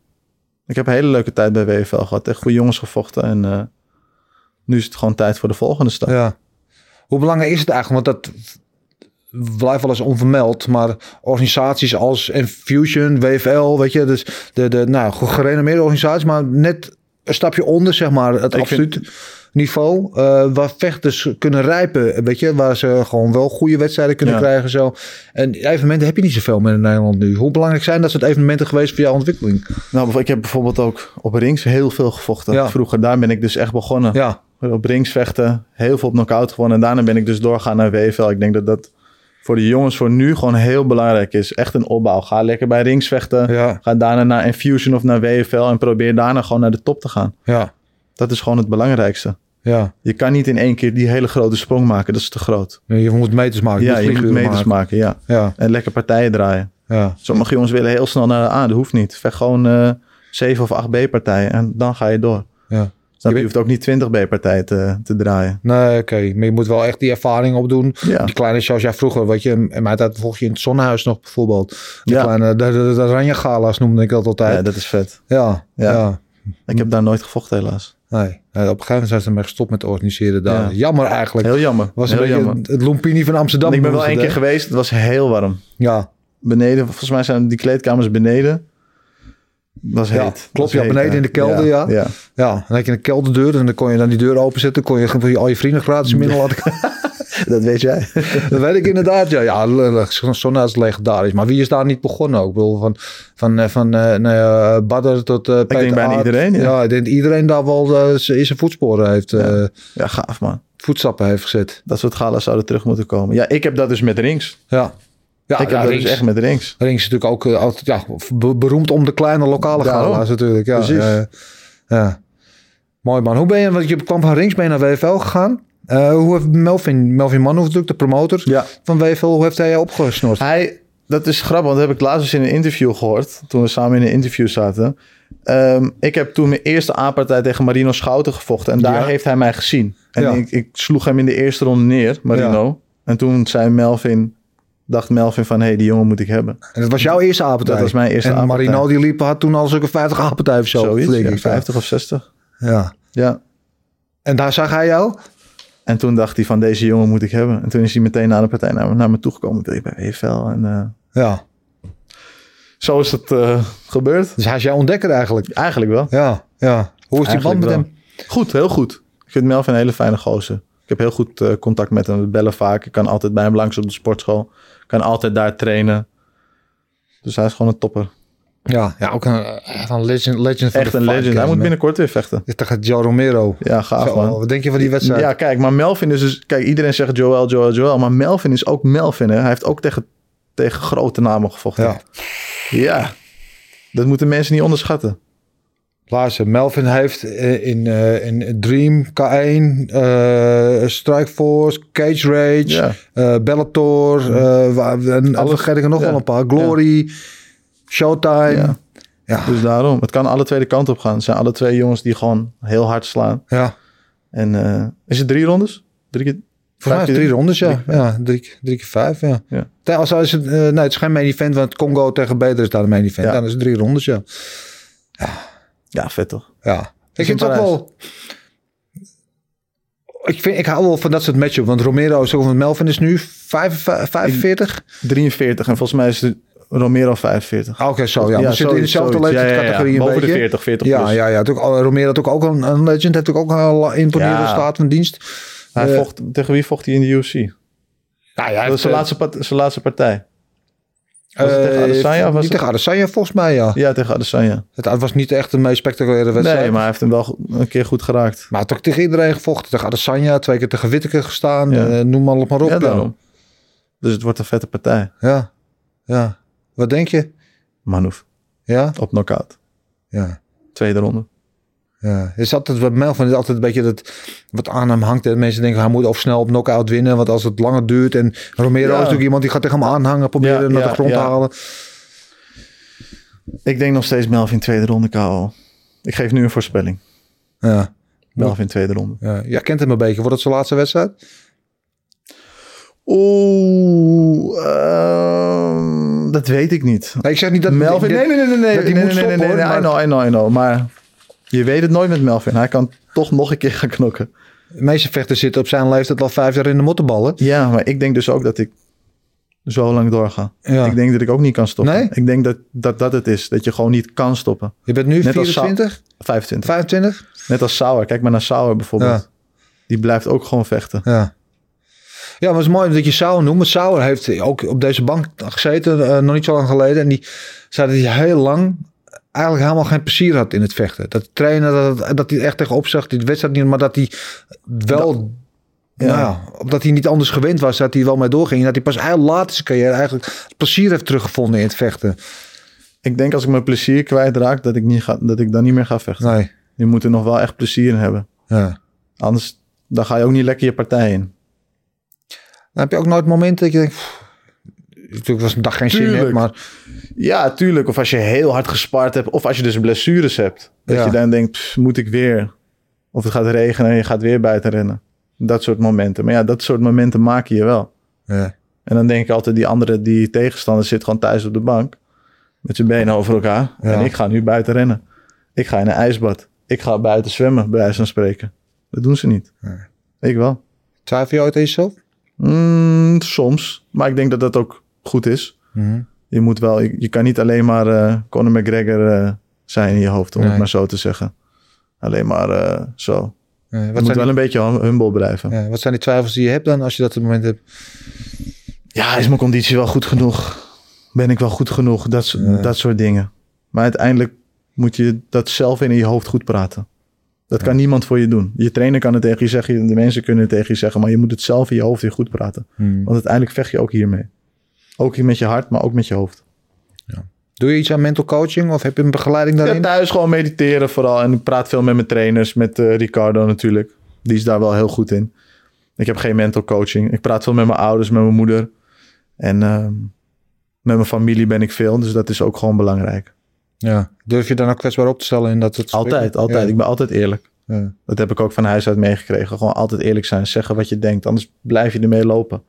Ik heb een hele leuke tijd bij WFL gehad. Echt goede jongens gevochten. En eh, nu is het gewoon tijd voor de volgende stap. Ja. Hoe belangrijk is het eigenlijk? Want dat blijft wel eens onvermeld, maar organisaties als Infusion, WFL, weet je, dus de, de nou, goed gerenommeerde organisaties, maar net een stapje onder, zeg maar, het Ik absoluut niveau, eh, waar vechters kunnen rijpen, weet je, waar ze gewoon wel goede wedstrijden kunnen Ja. krijgen zo. En die evenementen heb je niet zoveel meer in Nederland nu. Hoe belangrijk zijn dat soort evenementen geweest voor jouw ontwikkeling? Nou, ik heb bijvoorbeeld ook op rings heel veel gevochten. Ja. Vroeger, daar ben ik dus echt begonnen. Ja, Op rings vechten, heel veel op knock-out gewonnen. En daarna ben ik dus doorgaan naar WFL. Ik denk dat dat voor de jongens voor nu gewoon heel belangrijk is. Echt een opbouw. Ga lekker bij rings vechten. ja, Ga daarna naar Infusion of naar WFL. En probeer daarna gewoon naar de top te gaan. ja, Dat is gewoon het belangrijkste. ja. Je kan niet in één keer die hele grote sprong maken. Dat is te groot. Nee, Je moet meters maken. ja, niet je moet figuren meters maken. ja. Ja, En lekker partijen draaien. ja, Sommige jongens willen heel snel naar de A. Dat hoeft niet. Vecht gewoon eh 7 of 8 B-partijen. En dan ga je door. ja. Snap je? Je Je hoeft ook niet 20 B-partijen te, te draaien. Nee, oké. Maar je moet wel echt die ervaring opdoen. Ja. Die kleine zoals jij vroeger, weet je. In mijn tijd volg je in het zonnehuis nog bijvoorbeeld. Die Ja. kleine, de, de, de Ranja Gala's noemde ik dat ja, altijd. dat is vet. Ja, ja. Ja. Ik heb daar nooit gevochten helaas. Nee. Nee, op een gegeven moment zijn ze ermee gestopt met organiseren daar. Ja. Jammer eigenlijk. Heel jammer. was een heel beetje jammer. het Lumpini van Amsterdam. ik ben wel noemen ze één keer het, geweest. Het was heel warm. hè? Ja, Beneden, volgens mij zijn die kleedkamers beneden. Dat was Ja, heet. klopt, Dat was ja, heet, beneden in de kelder, ja. ja. ja. En dan had je een kelderdeur en dan kon je dan die deur openzetten. kon je gewoon al je vrienden gratis binnen laten Dat weet jij. Dat weet ik inderdaad. Ja, ja lullig. Zo'n sauna is legendarisch. Maar wie is daar niet begonnen ook? Ik bedoel, van van, eh, van eh, nou ja, Badder tot eh Peter denk bijna Aert. iedereen, ja. ik denk iedereen daar wel eh, z- in zijn voetsporen heeft, eh Ja, gaaf man. voetstappen heeft gezet. Dat soort galas zouden terug moeten komen. Ja, ik heb dat dus met rings. Ja. Ja, ik heb Ah, ja, dat Rings- dus echt met rings. Rings is natuurlijk ook eh, altijd, ja, be- beroemd om de kleine lokale Daarom. gala's natuurlijk. Ja, Precies. eh, ja. Mooi man. Hoe ben je, want je kwam van Rings mee naar WFL gegaan. Eh, hoe heeft Melvin, Melvin Manhoef natuurlijk, de promotor Ja. van WFL, hoe heeft hij jou opgesnord? Hij, dat is grappig, want dat heb ik laatst eens in een interview gehoord. Toen we samen in een interview zaten. Ehm, ik heb toen mijn eerste A-partij tegen Marino Schouten gevochten. En daar Ja. heeft hij mij gezien. En Ja. ik, ik sloeg hem in de eerste ronde neer, Marino. En toen zei Melvin, dacht Melvin van... hé, hey, die jongen moet ik hebben. En dat was jouw eerste apentuin. Dat was mijn eerste en apentuin. Marino die liep had toen al zulke 50 apentuin of zo. Zoiets, flink, ja, ik, 50 of 60. Ja. Ja. En daar zag hij jou? En toen dacht hij van deze jongen moet ik hebben. En toen is hij meteen na de partij naar, me- naar me toegekomen. Wil je bij EFL? En eh, Ja. zo is het eh, gebeurd. Dus hij is jouw ontdekker eigenlijk. Eigenlijk wel. Ja, ja. Hoe is die band met Eigenlijk hem? wel. Goed, heel goed. Ik vind Melvin een hele fijne gozer. Ik heb heel goed eh, contact met hem. We bellen vaak. Ik kan altijd bij hem langs op de sportschool. Ik kan altijd daar trainen. Dus hij is gewoon een topper. Ja, ja ook een, echt een legend, legend van Echt de een podcast, legend. Hij moet man. binnenkort weer vechten. Tegen Joe Romero. Ja, gaaf Zo, man. wat denk je van die wedstrijd? Ja, Ja, kijk, maar Melvin is dus... Kijk, iedereen zegt Joel, Joel, Joel. Maar Melvin is ook Melvin, hè. Hij heeft ook tegen, tegen grote namen gevochten. Ja, dat moeten mensen niet onderschatten. Luister, Melvin heeft eh, in, eh, in Dream, K1, eh Strikeforce, Cage Rage, Ja. eh, Bellator, eh, wa- en dan vergeet ik er nog Mhm. Ja. wel een paar. Glory, Showtime. Ja. Ja. Dus daarom, het kan alle twee de kant op gaan. Het zijn alle twee jongens die gewoon heel hard slaan. ja. En eh, is het drie rondes? Drie keer? Voor mij is het Vijf drie keer- rondes, ja. drie ja drie, drie keer vijf, ja. Ja. Als is het, eh, nee, het is geen main event, want Congo tegen Beter is daar een main event. Ja. Dan is het drie rondes, ja. Ja, vet toch? ja. Ik in vind het ook Parijs. wel... Ik, vind, ik hou wel van dat soort matchup, want Romero is ook van Melvin is nu 45. 45? 43 en volgens mij is het Romero 45. Ah, Oké, zo ja. Ja, we zitten in zoiets, dezelfde zoiets. Ja, ja, ja. leeftijdscategorie een Boven de beetje. 40, 40 ja, plus. ja, ja. Natuurlijk, al- Romero had ook ook een, een legend, heeft natuurlijk ook een la- imponerende Ja. staat van dienst. Hij Eh, vocht, tegen wie vocht hij in de UFC? nou ja, Dat is zijn eh, laatste, part- zijn laatste partij. was het eh, tegen Adesanya of was niet het- tegen Adesanya volgens mij, ja. Ja, tegen Adesanya. Het was niet echt de meest spectaculaire wedstrijd. Nee, maar hij heeft hem wel go- een keer goed geraakt. Maar toch tegen iedereen gevochten. Tegen Adesanya, twee keer tegen Whittaker gestaan. Ja. eh, noem maar op maar op. Ja, ja. daarom. Dus het wordt een vette partij. Ja. ja. Wat denk je? Manouf, Ja? op knockout. Ja. Tweede ronde. Ja, is altijd wat Melvin is altijd een beetje dat wat aan hem hangt. En mensen denken hij moet of snel op knockout winnen, want als het langer duurt en Romero Ja. is natuurlijk iemand die gaat tegen hem aanhangen, proberen Ja, hem naar ja, de grond te ja. halen. Ik denk nog steeds Melvin tweede ronde KO. Ik geef nu een voorspelling. Ja, Melvin tweede ronde. ja. Jij kent hem een beetje. Wordt het zijn laatste wedstrijd? Oeh, ehm, dat weet ik niet. Nee, ik zeg niet dat Melvin, dit- nee, nee, nee, nee, nee, dat nee, die nee, moet nee, nee, stoppen, nee, hoor, maar- I know, I know, I know. Maar je weet het nooit met Melvin. Hij kan toch nog een keer gaan knokken. De meeste vechters zitten op zijn leeftijd al vijf jaar in de mottenballen. Ja, maar ik denk dus ook dat ik zo lang doorgaan. Ja. Ik denk dat ik ook niet kan stoppen. Nee? Ik denk dat, dat dat het is. Dat je gewoon niet kan stoppen. Je bent nu Net als 24, 25. 25? Net als Sauer. Kijk maar naar Sauer bijvoorbeeld. Die blijft ook gewoon vechten. Ja. Ja, maar het is mooi dat je Sauer noemt. Sauer heeft ook op deze bank gezeten, eh, nog niet zo lang geleden. En die zei dat hij heel lang eigenlijk helemaal geen plezier had in het vechten. Dat de trainer, dat, dat hij er echt tegenop zag, die wedstrijd niet, maar dat hij wel... Ja. Nou ja, omdat hij niet anders gewend was, dat hij wel mee doorging. En dat hij pas heel laat in zijn carrière eigenlijk het plezier heeft teruggevonden in het vechten. Ik denk als ik mijn plezier kwijtraak, dat ik, niet ga, dat ik dan niet meer ga vechten. Nee, Je moet er nog wel echt plezier in hebben. ja. Anders dan ga je ook niet lekker je partij in. Dan heb je ook nooit momenten dat je denkt... pff, Natuurlijk was een dag geen zin, Tuurlijk. in, maar Ja, tuurlijk. Of als je heel hard gespaard hebt. Of als je dus blessures hebt. Dat Ja. je dan denkt, "Pff, moet ik weer? Of het gaat regenen en je gaat weer buiten rennen. Dat soort momenten. Maar ja, dat soort momenten maken je wel. ja. En dan denk ik altijd, die andere, die tegenstander zit gewoon thuis op de bank. Met zijn benen over elkaar. Ja. En ik ga nu buiten rennen. Ik ga in een ijsbad. Ik ga buiten zwemmen, bij wijze van spreken. Dat doen ze niet. Nee. Ik wel. twijfel je ooit aan jezelf? Mm, soms. Maar ik denk dat dat ook goed is. Mhm. Je moet wel, je, je kan niet alleen maar eh, Conor McGregor eh, zijn in je hoofd, om Nee. het maar zo te zeggen. Alleen maar eh, zo. Ja, Je wat moet zijn wel een beetje hum- humble blijven. Ja. Ja, wat zijn die twijfels die je hebt dan als je dat op het moment hebt? is mijn conditie wel goed genoeg? Ben ik wel goed genoeg? Dat, so- Ja. dat soort dingen. Maar uiteindelijk moet je dat zelf in je hoofd goed praten. Dat kan niemand voor je doen. Je trainer kan het tegen je zeggen, de mensen kunnen het tegen je zeggen, maar je moet het zelf in je hoofd weer goed praten. Want uiteindelijk vecht je ook hiermee. Ook met je hart, maar ook met je hoofd. Doe je iets aan mental coaching of heb je een begeleiding Ja, daarin? thuis gewoon mediteren vooral. En ik praat veel met mijn trainers, met eh, Ricardo natuurlijk. Die is daar wel heel goed in. Ik heb geen mental coaching. Ik praat veel met mijn ouders, met mijn moeder. En ehm, met mijn familie ben ik veel. Dus dat is ook gewoon belangrijk. ja. Durf je dan ook kwetsbaar op te stellen in dat het Altijd, altijd. Ik ben altijd eerlijk. Ja. Dat heb ik ook van huis uit meegekregen. Gewoon altijd eerlijk zijn. Zeggen wat je denkt. Anders blijf je ermee lopen.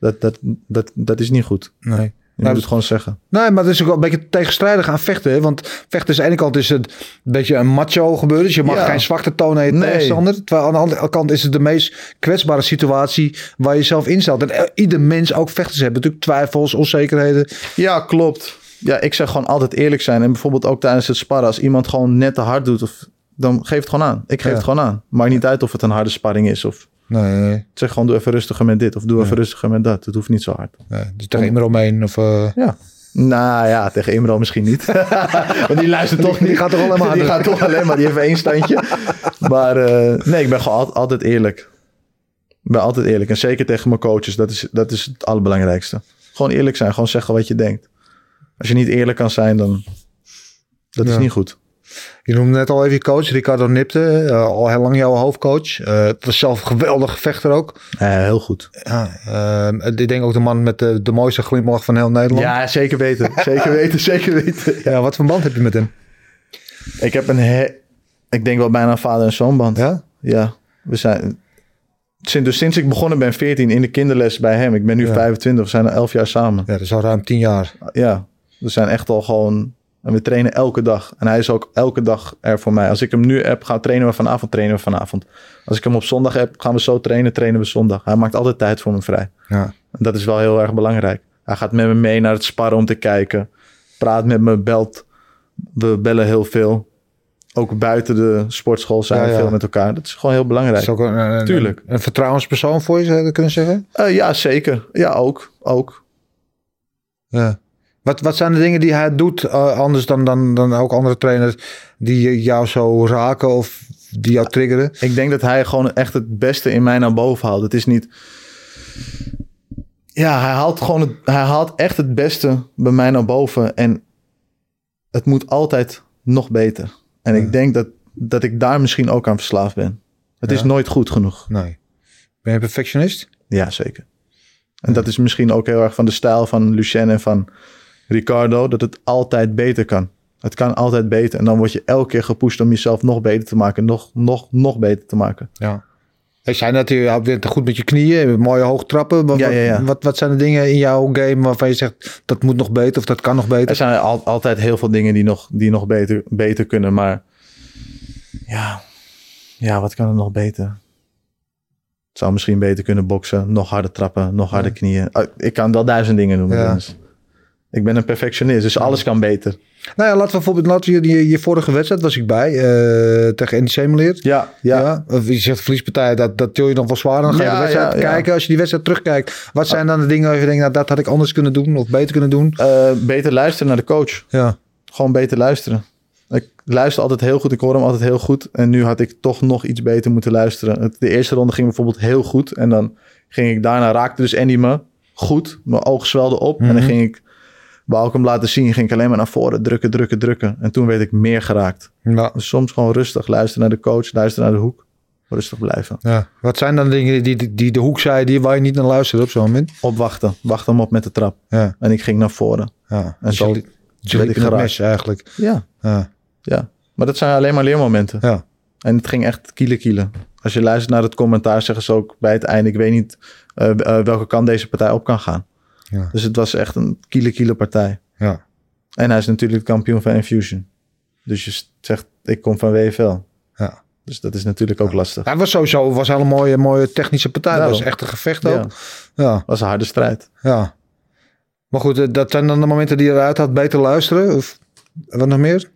Dat, dat, dat, dat is niet goed. Nee. Je Nou, moet het gewoon zeggen. nee, maar dat is ook wel een beetje tegenstrijdig aan vechten. Hè? Want vechten is aan de ene kant is het een beetje een macho gebeuren. Dus je mag Ja. geen zwakte tonen aan je Nee. tegenstander. Terwijl aan de andere kant is het de meest kwetsbare situatie waar je jezelf in stelt. En eh, ieder mens, ook vechters, hebben natuurlijk twijfels, onzekerheden. Ja, klopt. Ja, ik zeg gewoon altijd eerlijk zijn. En bijvoorbeeld ook tijdens het sparren. Als iemand gewoon net te hard doet, of, dan geef het gewoon aan. Ik geef Ja. het gewoon aan. Maakt niet uit of het een harde sparring is. Of Nee, zeg gewoon, doe even rustiger met dit. Of doe even rustiger met dat. Het hoeft niet zo hard. nee. Dus tegen Imro omheen of... eh, Ja. Nou ja, tegen Imro misschien niet. Want die luistert toch Die- die niet. gaat toch alleen maar Die aan gaat toch alleen maar. Die heeft één standje. maar eh, nee, ik ben gewoon al- altijd eerlijk. Ik ben altijd eerlijk. En zeker tegen mijn coaches. Dat is, dat is het allerbelangrijkste. Gewoon eerlijk zijn. Gewoon zeggen wat je denkt. Als je niet eerlijk kan zijn, dan... Dat is Ja. niet goed. Je noemde net al even je coach, Ricardo Nipte. eh, al heel lang jouw hoofdcoach. Eh het was zelf een geweldige vechter ook. Eh, heel goed. Ja, ehm, ik denk ook de man met de, de mooiste glimlach van heel Nederland. Ja, zeker weten. zeker weten, zeker weten. Ja, wat voor band heb je met hem? Ik heb een... he- ik denk wel bijna een vader- en zoonband. Ja? Ja, we zijn. Sinds, dus sinds ik begonnen ben, 14 in de kinderles bij hem. Ik ben nu Ja. 25, we zijn al 11 jaar samen. Ja, dat is al ruim tien jaar. Nou, Ja, we zijn echt al gewoon. En we trainen elke dag. En hij is ook elke dag er voor mij. Als ik hem nu heb, gaan trainen we vanavond, trainen we vanavond. Als ik hem op zondag heb, gaan we zo trainen, trainen we zondag. Hij maakt altijd tijd voor me vrij. Ja. En dat is wel heel erg belangrijk. Hij gaat met me mee naar het sparren om te kijken. Praat met me, belt. We bellen heel veel. Ook buiten de sportschool zijn Ja, we ja. veel met elkaar. Dat is gewoon heel belangrijk. Dat is ook een, een, Tuurlijk. een vertrouwenspersoon voor je, zou je kunnen zeggen. Eh, ja, zeker. Ja, ook. ook. Ja. Wat, wat zijn de dingen die hij doet, eh, anders dan, dan, dan ook andere trainers, die jou zo raken of die jou triggeren? Ik denk dat hij gewoon echt het beste in mij naar boven haalt. Het is niet... Ja, hij haalt, gewoon het, hij haalt echt het beste bij mij naar boven. En het moet altijd nog beter. En ik denk dat, dat ik daar misschien ook aan verslaafd ben. Het is Ja. nooit goed genoeg. Nee. Ben je een perfectionist? Ja, zeker. En dat is misschien ook heel erg van de stijl van Lucien en van Ricardo, dat het altijd beter kan. Het kan altijd beter. En dan word je elke keer gepusht om jezelf nog beter te maken, nog, nog, nog beter te maken. Ja. Ik zei net, je bent goed met je knieën, met mooie hoogtrappen. Wat, Ja, ja, ja. Wat, wat zijn de dingen in jouw game waarvan je zegt, dat moet nog beter of dat kan nog Er beter? zijn al, altijd heel veel dingen die nog, die nog beter, beter kunnen, maar ja. ja, wat kan er nog beter? Zou misschien beter kunnen boksen. Nog harder trappen, nog harder knieën. Ah, Ik kan wel duizend dingen noemen. Ja. Dennis. Ik ben een perfectionist, dus alles kan beter. Nou ja, laten we bijvoorbeeld, laten we je, je vorige wedstrijd was ik bij, eh, tegen NEC Meleert. Ja, ja. of je zegt verliespartij, dat, dat til je dan wel zwaar. Dan ga je Ja, de wedstrijd ja, ja. Ah. kijken. Als je die wedstrijd terugkijkt, wat zijn dan de dingen waar je denkt, nou, dat had ik anders kunnen doen of beter kunnen doen? Eh, beter luisteren naar de coach. Ja, Gewoon beter luisteren. Ik luister altijd heel goed. Ik hoor hem altijd heel goed. En nu had ik toch nog iets beter moeten luisteren. Het- De eerste ronde ging bijvoorbeeld heel goed. En dan ging ik daarna, raakte dus Andy me goed. Mijn oog zwelde op. En dan ging ik, wou ik hem laten zien, ging ik alleen maar naar voren drukken, drukken, drukken. En toen werd ik meer geraakt. ja, Dus soms gewoon rustig luisteren naar de coach, luisteren naar de hoek. Rustig blijven. ja. Wat zijn dan de dingen die, die, die de hoek zei, die waar je niet naar luisterde op zo'n moment? Opwachten. Wacht hem op met de trap. Ja, En ik ging naar voren. ja. En zo je li- je werd liep ik in het geraakt. mes eigenlijk. Ja, Ja, ja. Maar dat zijn alleen maar leermomenten. ja. En het ging echt kielen kielen. Als je luistert naar het commentaar, zeggen ze ook bij het einde... ik weet niet eh, eh, welke kant deze partij op kan gaan. Ja. Dus het was echt een kielen kielen partij. Ja. En hij is natuurlijk kampioen van Infusion. Dus je zegt, ik kom van WFL. Ja. Dus dat is natuurlijk ook lastig. Hij was sowieso was een hele mooie, mooie technische partij. Dat Daarom. was echt een gevecht Ja. ook. Ja, was een harde strijd. ja. Maar goed, eh, dat zijn dan de momenten die je eruit had. Beter luisteren of wat nog meer?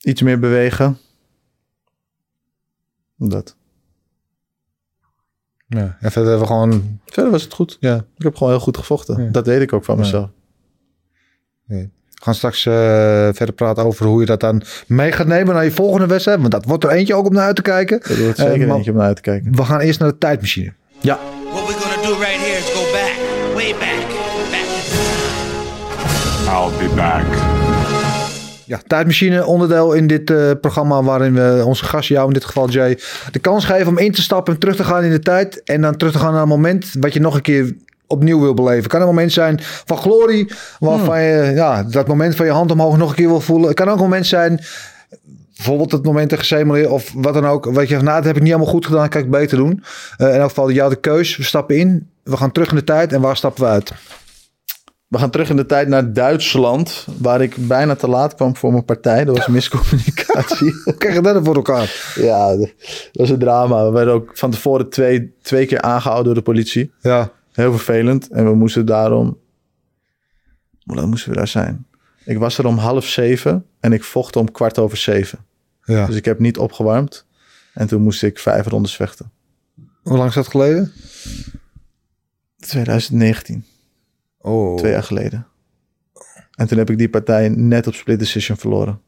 Iets meer bewegen. Dat. Ja. En verder hebben we gewoon... Verder was het goed. Ja. Ik heb gewoon heel goed gevochten. Ja. Dat weet ik ook van Ja. mezelf. We gaan straks eh, verder praten over hoe je dat dan mee gaat nemen naar je volgende wedstrijd. Want dat wordt er eentje ook om naar uit te kijken. Dat wordt Eh, zeker maar- eentje om naar uit te kijken. We gaan eerst naar de tijdmachine. Ja. What we're gonna do right here is go back, way back, back to the time. I'll be back. Ja, tijdmachine onderdeel in dit eh, programma waarin we onze gast, jou in dit geval Jay, de kans geven om in te stappen en terug te gaan in de tijd. En dan terug te gaan naar een moment wat je nog een keer opnieuw wil beleven. Kan een moment zijn van glorie, waarvan je ja, dat moment van je hand omhoog nog een keer wil voelen. Het kan ook een moment zijn, bijvoorbeeld het moment tegen Semeler of wat dan ook. Weet je, zegt, nou dat heb ik niet helemaal goed gedaan, kan ik beter doen. Eh, in elk geval, jou de keus. We stappen in, we gaan terug in de tijd en waar stappen we uit? We gaan terug in de tijd naar Duitsland, waar ik bijna te laat kwam voor mijn partij. Dat was miscommunicatie. Hoe krijg je dat voor elkaar? ja, dat was een drama. We werden ook van tevoren twee, twee keer aangehouden door de politie. Ja, Heel vervelend. En we moesten daarom... Hoe laat moesten we daar zijn? Ik was er om half zeven en ik vocht om kwart over zeven. ja. Dus ik heb niet opgewarmd. En toen moest ik vijf rondes vechten. Hoe lang is dat geleden? 2019, Oh. twee jaar geleden. En toen heb ik die partij net op split decision verloren.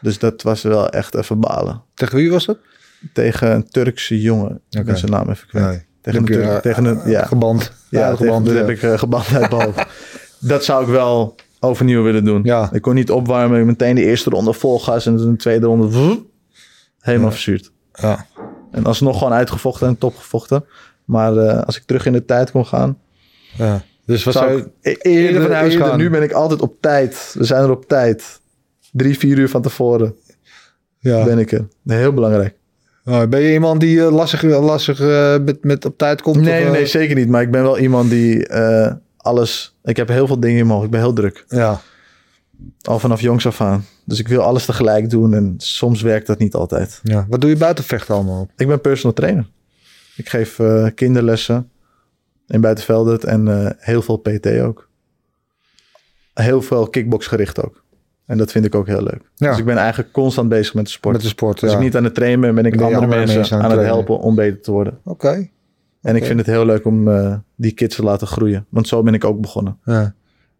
Dus dat was wel echt even balen. Tegen wie was dat? tegen een Turkse jongen. Ik ben zijn naam even kwijt. Nee. Tegen een Die heb je, Turk- eh, tegen een- eh, ja. geband. Ja, Aardig geband. dat ja. heb ik eh, geband uit mijn hoofd. Dat zou ik wel overnieuw willen doen. Ja. Ik kon niet opwarmen. Ik meteen de eerste ronde vol gas en toen de tweede ronde vroep, helemaal verzuurd. Ja. En alsnog gewoon uitgevochten en topgevochten. Maar eh, als ik terug in de tijd kon gaan, Ja. Dus wat zou zou ik e- eerder, eerder eerder, van huis gaan? Nu ben ik altijd op tijd. We zijn er op tijd. Drie, vier uur van tevoren ja. ben ik er. Heel belangrijk. Nou, ben je iemand die eh, lastig, lastig eh, met, met op tijd komt? Nee, of, nee, eh, nee, zeker niet. Maar ik ben wel iemand die eh, alles... Ik heb heel veel dingen in mijn hoofd. Ik ben heel druk. Ja. Al vanaf jongs af aan. Dus ik wil alles tegelijk doen. En soms werkt dat niet altijd. ja. Wat doe je buiten vechten allemaal? Ik ben personal trainer. Ik geef eh, kinderlessen in Buitenveldert. En eh, heel veel PT ook. Heel veel kickboxgericht ook. En dat vind ik ook heel leuk. Ja. Dus ik ben eigenlijk constant bezig met de sport. Met de sport, Als ja. Dus ik niet aan het trainen ben, ben ik Ben je andere, andere mensen, mensen aan aan, het het trainen. helpen om beter te worden. Oké. En ik vind het heel leuk om eh, die kids te laten groeien. Want zo ben ik ook begonnen. Ja.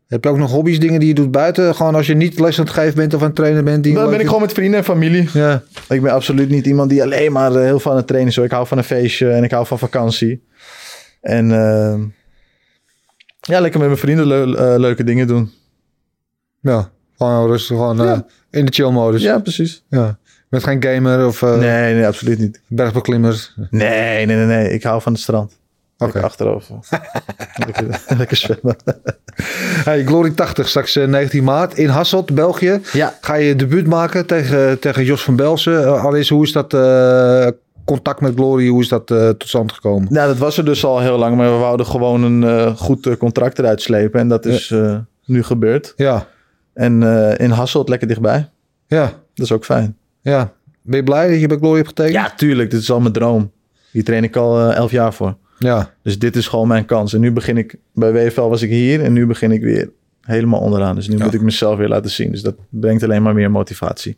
Heb je ook nog hobby's, dingen die je doet buiten? Gewoon als je niet les aan het geven bent of aan het trainen bent? Die je Dan leuk ben ik vindt? gewoon met vrienden en familie. Ja. Ik ben absoluut niet iemand die alleen maar eh, heel van het trainen is. hoor. Ik hou van een feestje en ik hou van vakantie. En ehm, ja, lekker met mijn vrienden leu- eh, leuke dingen doen. ja. Gewoon rustig, gewoon eh, Ja. in de chill-modus. Ja, precies. Ja. Met geen gamer of eh Dus- Nee, nee, absoluut niet. bergbeklimmers. Nee, nee, nee, nee. Ik hou van het strand. Oké. Lekker achterover. lekker, lekker zwemmen. Hey, Glory 80, straks eh, 19 maart in Hasselt, België. Ja. Ga je je debuut maken tegen, tegen Jos van Belsen. Eh, Allereerst, hoe is dat eh, contact met Glory, hoe is dat eh, tot stand gekomen? Nou, dat was er dus al heel lang. Maar we wouden gewoon een eh, goed eh, contract eruit slepen. En dat is eh, nu gebeurd. Ja, En eh, in Hasselt lekker dichtbij. ja, Dat is ook fijn. ja. Ben je blij dat je bij Glory hebt getekend? Ja, tuurlijk. Dit is al mijn droom. Hier train ik al eh, elf jaar voor. Ja, Dus dit is gewoon mijn kans. En nu begin ik, bij WFL was ik hier en nu begin ik weer helemaal onderaan. Dus nu moet ik mezelf weer laten zien. Dus dat brengt alleen maar meer motivatie.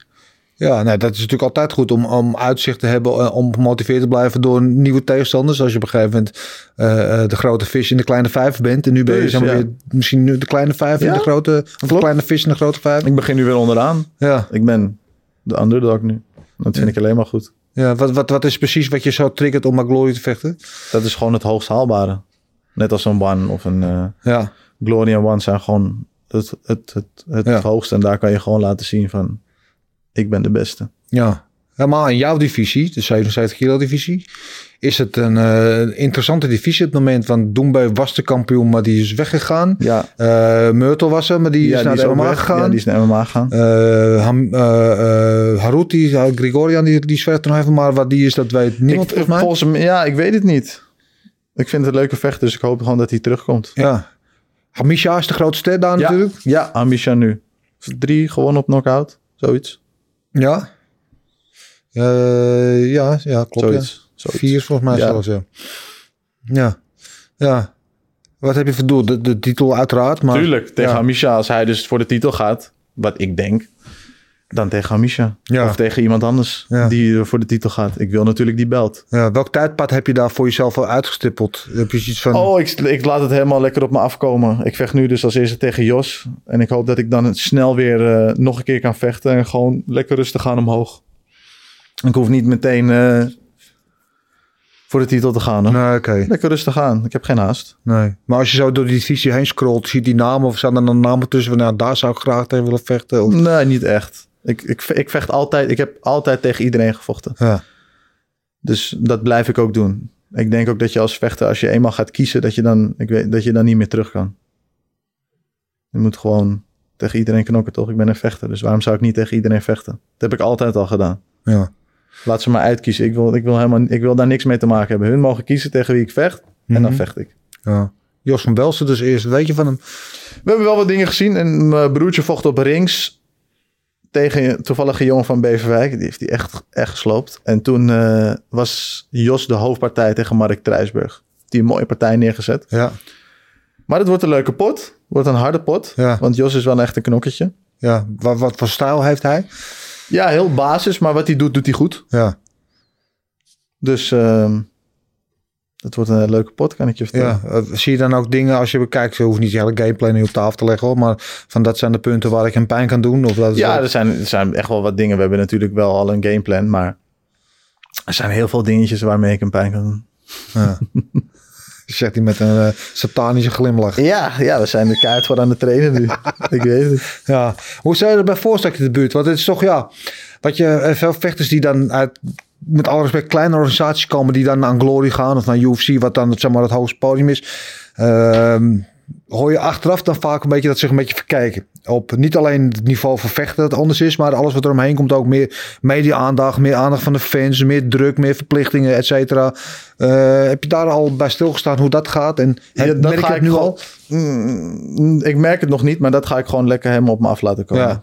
ja nou, dat is natuurlijk altijd goed om, om uitzicht te hebben, eh, om gemotiveerd te blijven door nieuwe tegenstanders. Als je op een gegeven moment eh, eh, de grote vis in de kleine vijf bent. En nu ben je Dus, zeg maar, ja. weer misschien nu de kleine vijf in Ja, de grote, of de klopt. kleine vis in de grote vijf. Ik begin nu weer onderaan. Ja, Ik ben de underdog nu. Dat vind ik alleen maar goed. ja. Wat, wat, wat is precies wat je zo triggert om McGlory te vechten? Dat is gewoon het hoogst haalbare. Net als een One of een eh Ja, Gloria One zijn gewoon het, het, het, het Ja. hoogste. En daar kan je gewoon laten zien van, ik ben de beste. ja. Helemaal in jouw divisie, de 77 kilo divisie, is het een eh, interessante divisie op het moment. Want Doembe was de kampioen, maar die is weggegaan. Ja, Eh Myrtle was er, maar die is naar de ook MMA weg. gegaan. Ja, die is naar MMA gegaan. Eh, Ham, eh, eh, Haruti, eh, Grigorian, die, die zwerft er nog even, maar wat die is, dat weet niemand ik, volgens mij. volgens mij- Ja, ik weet het niet. Ik vind het een leuke vecht, dus ik hoop gewoon dat hij terugkomt. Ja. Hamisha is de grootste ster daar natuurlijk. Ja, Amisha nu. Drie gewonnen op knockout. Zoiets. Ja. Eh, ja, ja, klopt. Ja. Zoiets. Zoiets. Vier volgens mij Ja. zelfs, ja. Ja. Ja. Wat heb je voor doel? De, de titel uiteraard, maar... Tuurlijk, tegen ja. Amisha. Als hij dus voor de titel gaat, wat ik denk, dan tegen Amisha. Ja. Of tegen iemand anders Ja. die er voor de titel gaat. Ik wil natuurlijk die belt. Ja, welk tijdpad heb je daar voor jezelf al uitgestippeld? Heb je iets van... Oh, ik, ik laat het helemaal lekker op me afkomen. Ik vecht nu dus als eerste tegen Jos. En ik hoop dat ik dan snel weer eh, nog een keer kan vechten. En gewoon lekker rustig gaan omhoog. Ik hoef niet meteen eh, voor de titel te gaan. Hoor. Nee, oké. Lekker rustig aan. Ik heb geen haast. Nee. Maar als je zo door die divisie heen scrolt, zie je die namen of staan er dan namen tussen van nou, daar zou ik graag tegen willen vechten. Of, Nee, niet echt. Ik, ik, ik vecht altijd. Ik heb altijd tegen iedereen gevochten. ja. Dus dat blijf ik ook doen. Ik denk ook dat je als vechter, als je eenmaal gaat kiezen, dat je dan, ik weet, dat je dan niet meer terug kan. Je moet gewoon tegen iedereen knokken, toch? Ik ben een vechter, dus waarom zou ik niet tegen iedereen vechten? Dat heb ik altijd al gedaan. Ja. Laat ze maar uitkiezen. Ik wil, ik wil, helemaal, ik wil daar niks mee te maken hebben. Hun mogen kiezen tegen wie ik vecht en dan Mhm. vecht ik. ja. Jos van Belsen dus eerst, weet je van hem? We hebben wel wat dingen gezien en mijn broertje vocht op rings tegen een toevallige jongen van Beverwijk. Die heeft die echt, echt gesloopt. En toen eh, was Jos de hoofdpartij tegen Mark Trijsburg. Die een mooie partij neergezet. Ja, Maar het wordt een leuke pot. Wordt een harde pot. Ja. Want Jos is wel echt een knokketje. ja. Wat, wat voor stijl heeft hij? Ja, heel basis, maar wat hij doet, doet hij goed. Ja, Dus ehm dat wordt een leuke pot, kan ik je vertellen. ja. Eh, zie je dan ook dingen als je bekijkt, je hoeft niet je hele gameplay nu op tafel te leggen hoor, maar van dat zijn de punten waar ik hem pijn kan doen? Of dat is Ja, wel- er zijn, er zijn echt wel wat dingen. We hebben natuurlijk wel al een gameplan, maar er zijn heel veel dingetjes waarmee ik een pijn kan doen. ja. Zegt hij met een eh, satanische glimlach. Ja, ja, we zijn de kaart voor aan de trainen nu. ik weet het. Ja, hoe zou je erbij voorstellen in de buurt? Want het is toch, ja, wat je eh, veel vechters die dan uit, met alle respect, kleine organisaties komen, die dan naar Glory gaan of naar UFC, wat dan zeg maar het hoogste podium is. Ehm, hoor je achteraf dan vaak een beetje dat ze zich een beetje verkijken. Op niet alleen het niveau van vechten dat anders is, maar alles wat er omheen komt ook meer media-aandacht, meer aandacht van de fans, meer druk, meer verplichtingen, et cetera. Eh, heb je daar al bij stilgestaan hoe dat gaat? En Ja, heb- dat merk ga je het ik nu gewoon- al? Mm, ik merk het nog niet, maar dat ga ik gewoon lekker helemaal op me af laten komen. Ja.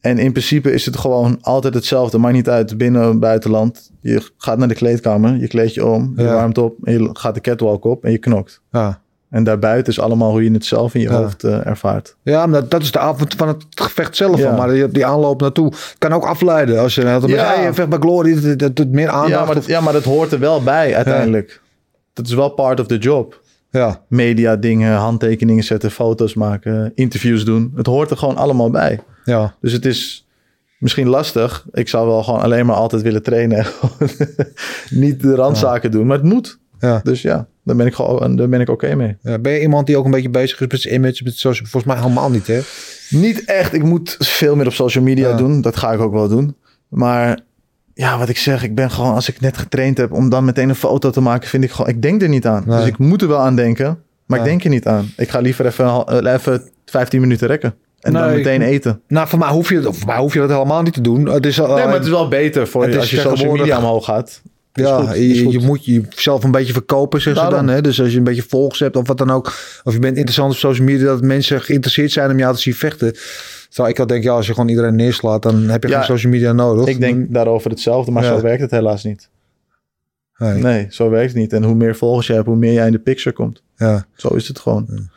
En in principe is het gewoon altijd hetzelfde. Maakt niet uit, binnen, buitenland. Je gaat naar de kleedkamer, je kleed je om, je Ja. warmt op, en je gaat de catwalk op en je knokt. Ja. En daarbuiten is allemaal hoe je het zelf in je Ja. hoofd eh, ervaart. Ja, maar dat, dat is de avond van het gevecht zelf. Ja. al, Maar die, die aanloop naartoe kan ook afleiden. Als je dan altijd Ja. met, hey, vecht bij Glory, dat- dat doet meer aandacht. Ja maar, dat, of- ja, maar dat hoort er wel bij uiteindelijk. Dat is wel part of the job. ja. Media dingen, handtekeningen zetten, foto's maken, interviews doen. Het hoort er gewoon allemaal bij. ja, Dus het is misschien lastig. Ik zou wel gewoon alleen maar altijd willen trainen. en gewoon niet de randzaken doen, maar het moet. ja. Dus ja, daar ben ik, gewoon- daar ben ik oké mee. Ja, Ben je iemand die ook een beetje bezig is met zijn image? Met social, volgens mij helemaal niet, hè? Niet echt. Ik moet veel meer op social media Ja. doen. Dat ga ik ook wel doen. Maar ja, wat ik zeg, ik ben gewoon, als ik net getraind heb, om dan meteen een foto te maken, vind ik gewoon, ik denk er niet aan. Nee. Dus ik moet er wel aan denken, maar Ja. ik denk er niet aan. Ik ga liever even, een hal- eh, even 15 minuten rekken. En dan Nee, ik- meteen eten. Nou, voor mij hoef je, voor mij hoef je dat helemaal niet te doen. Het is, al- eh, Nee, maar het is wel beter voor Het je is als je social tegenwoordig- media omhoog gaat. Is ja, goed, is je- goed. je moet jezelf een beetje verkopen, zeg ze Daarom. dan. Hè? Dus als je een beetje volgers hebt of wat dan ook. Of je bent interessant op social media, dat mensen geïnteresseerd zijn om jou te zien vechten. Terwijl ik al denk, ja, als je gewoon iedereen neerslaat, dan heb je Ja, geen social media nodig. Ik denk daarover hetzelfde, maar Ja. zo werkt het helaas niet. Nee. Nee, zo werkt het niet. En hoe meer volgers je hebt, hoe meer jij in de picture komt. Ja. Zo is het gewoon.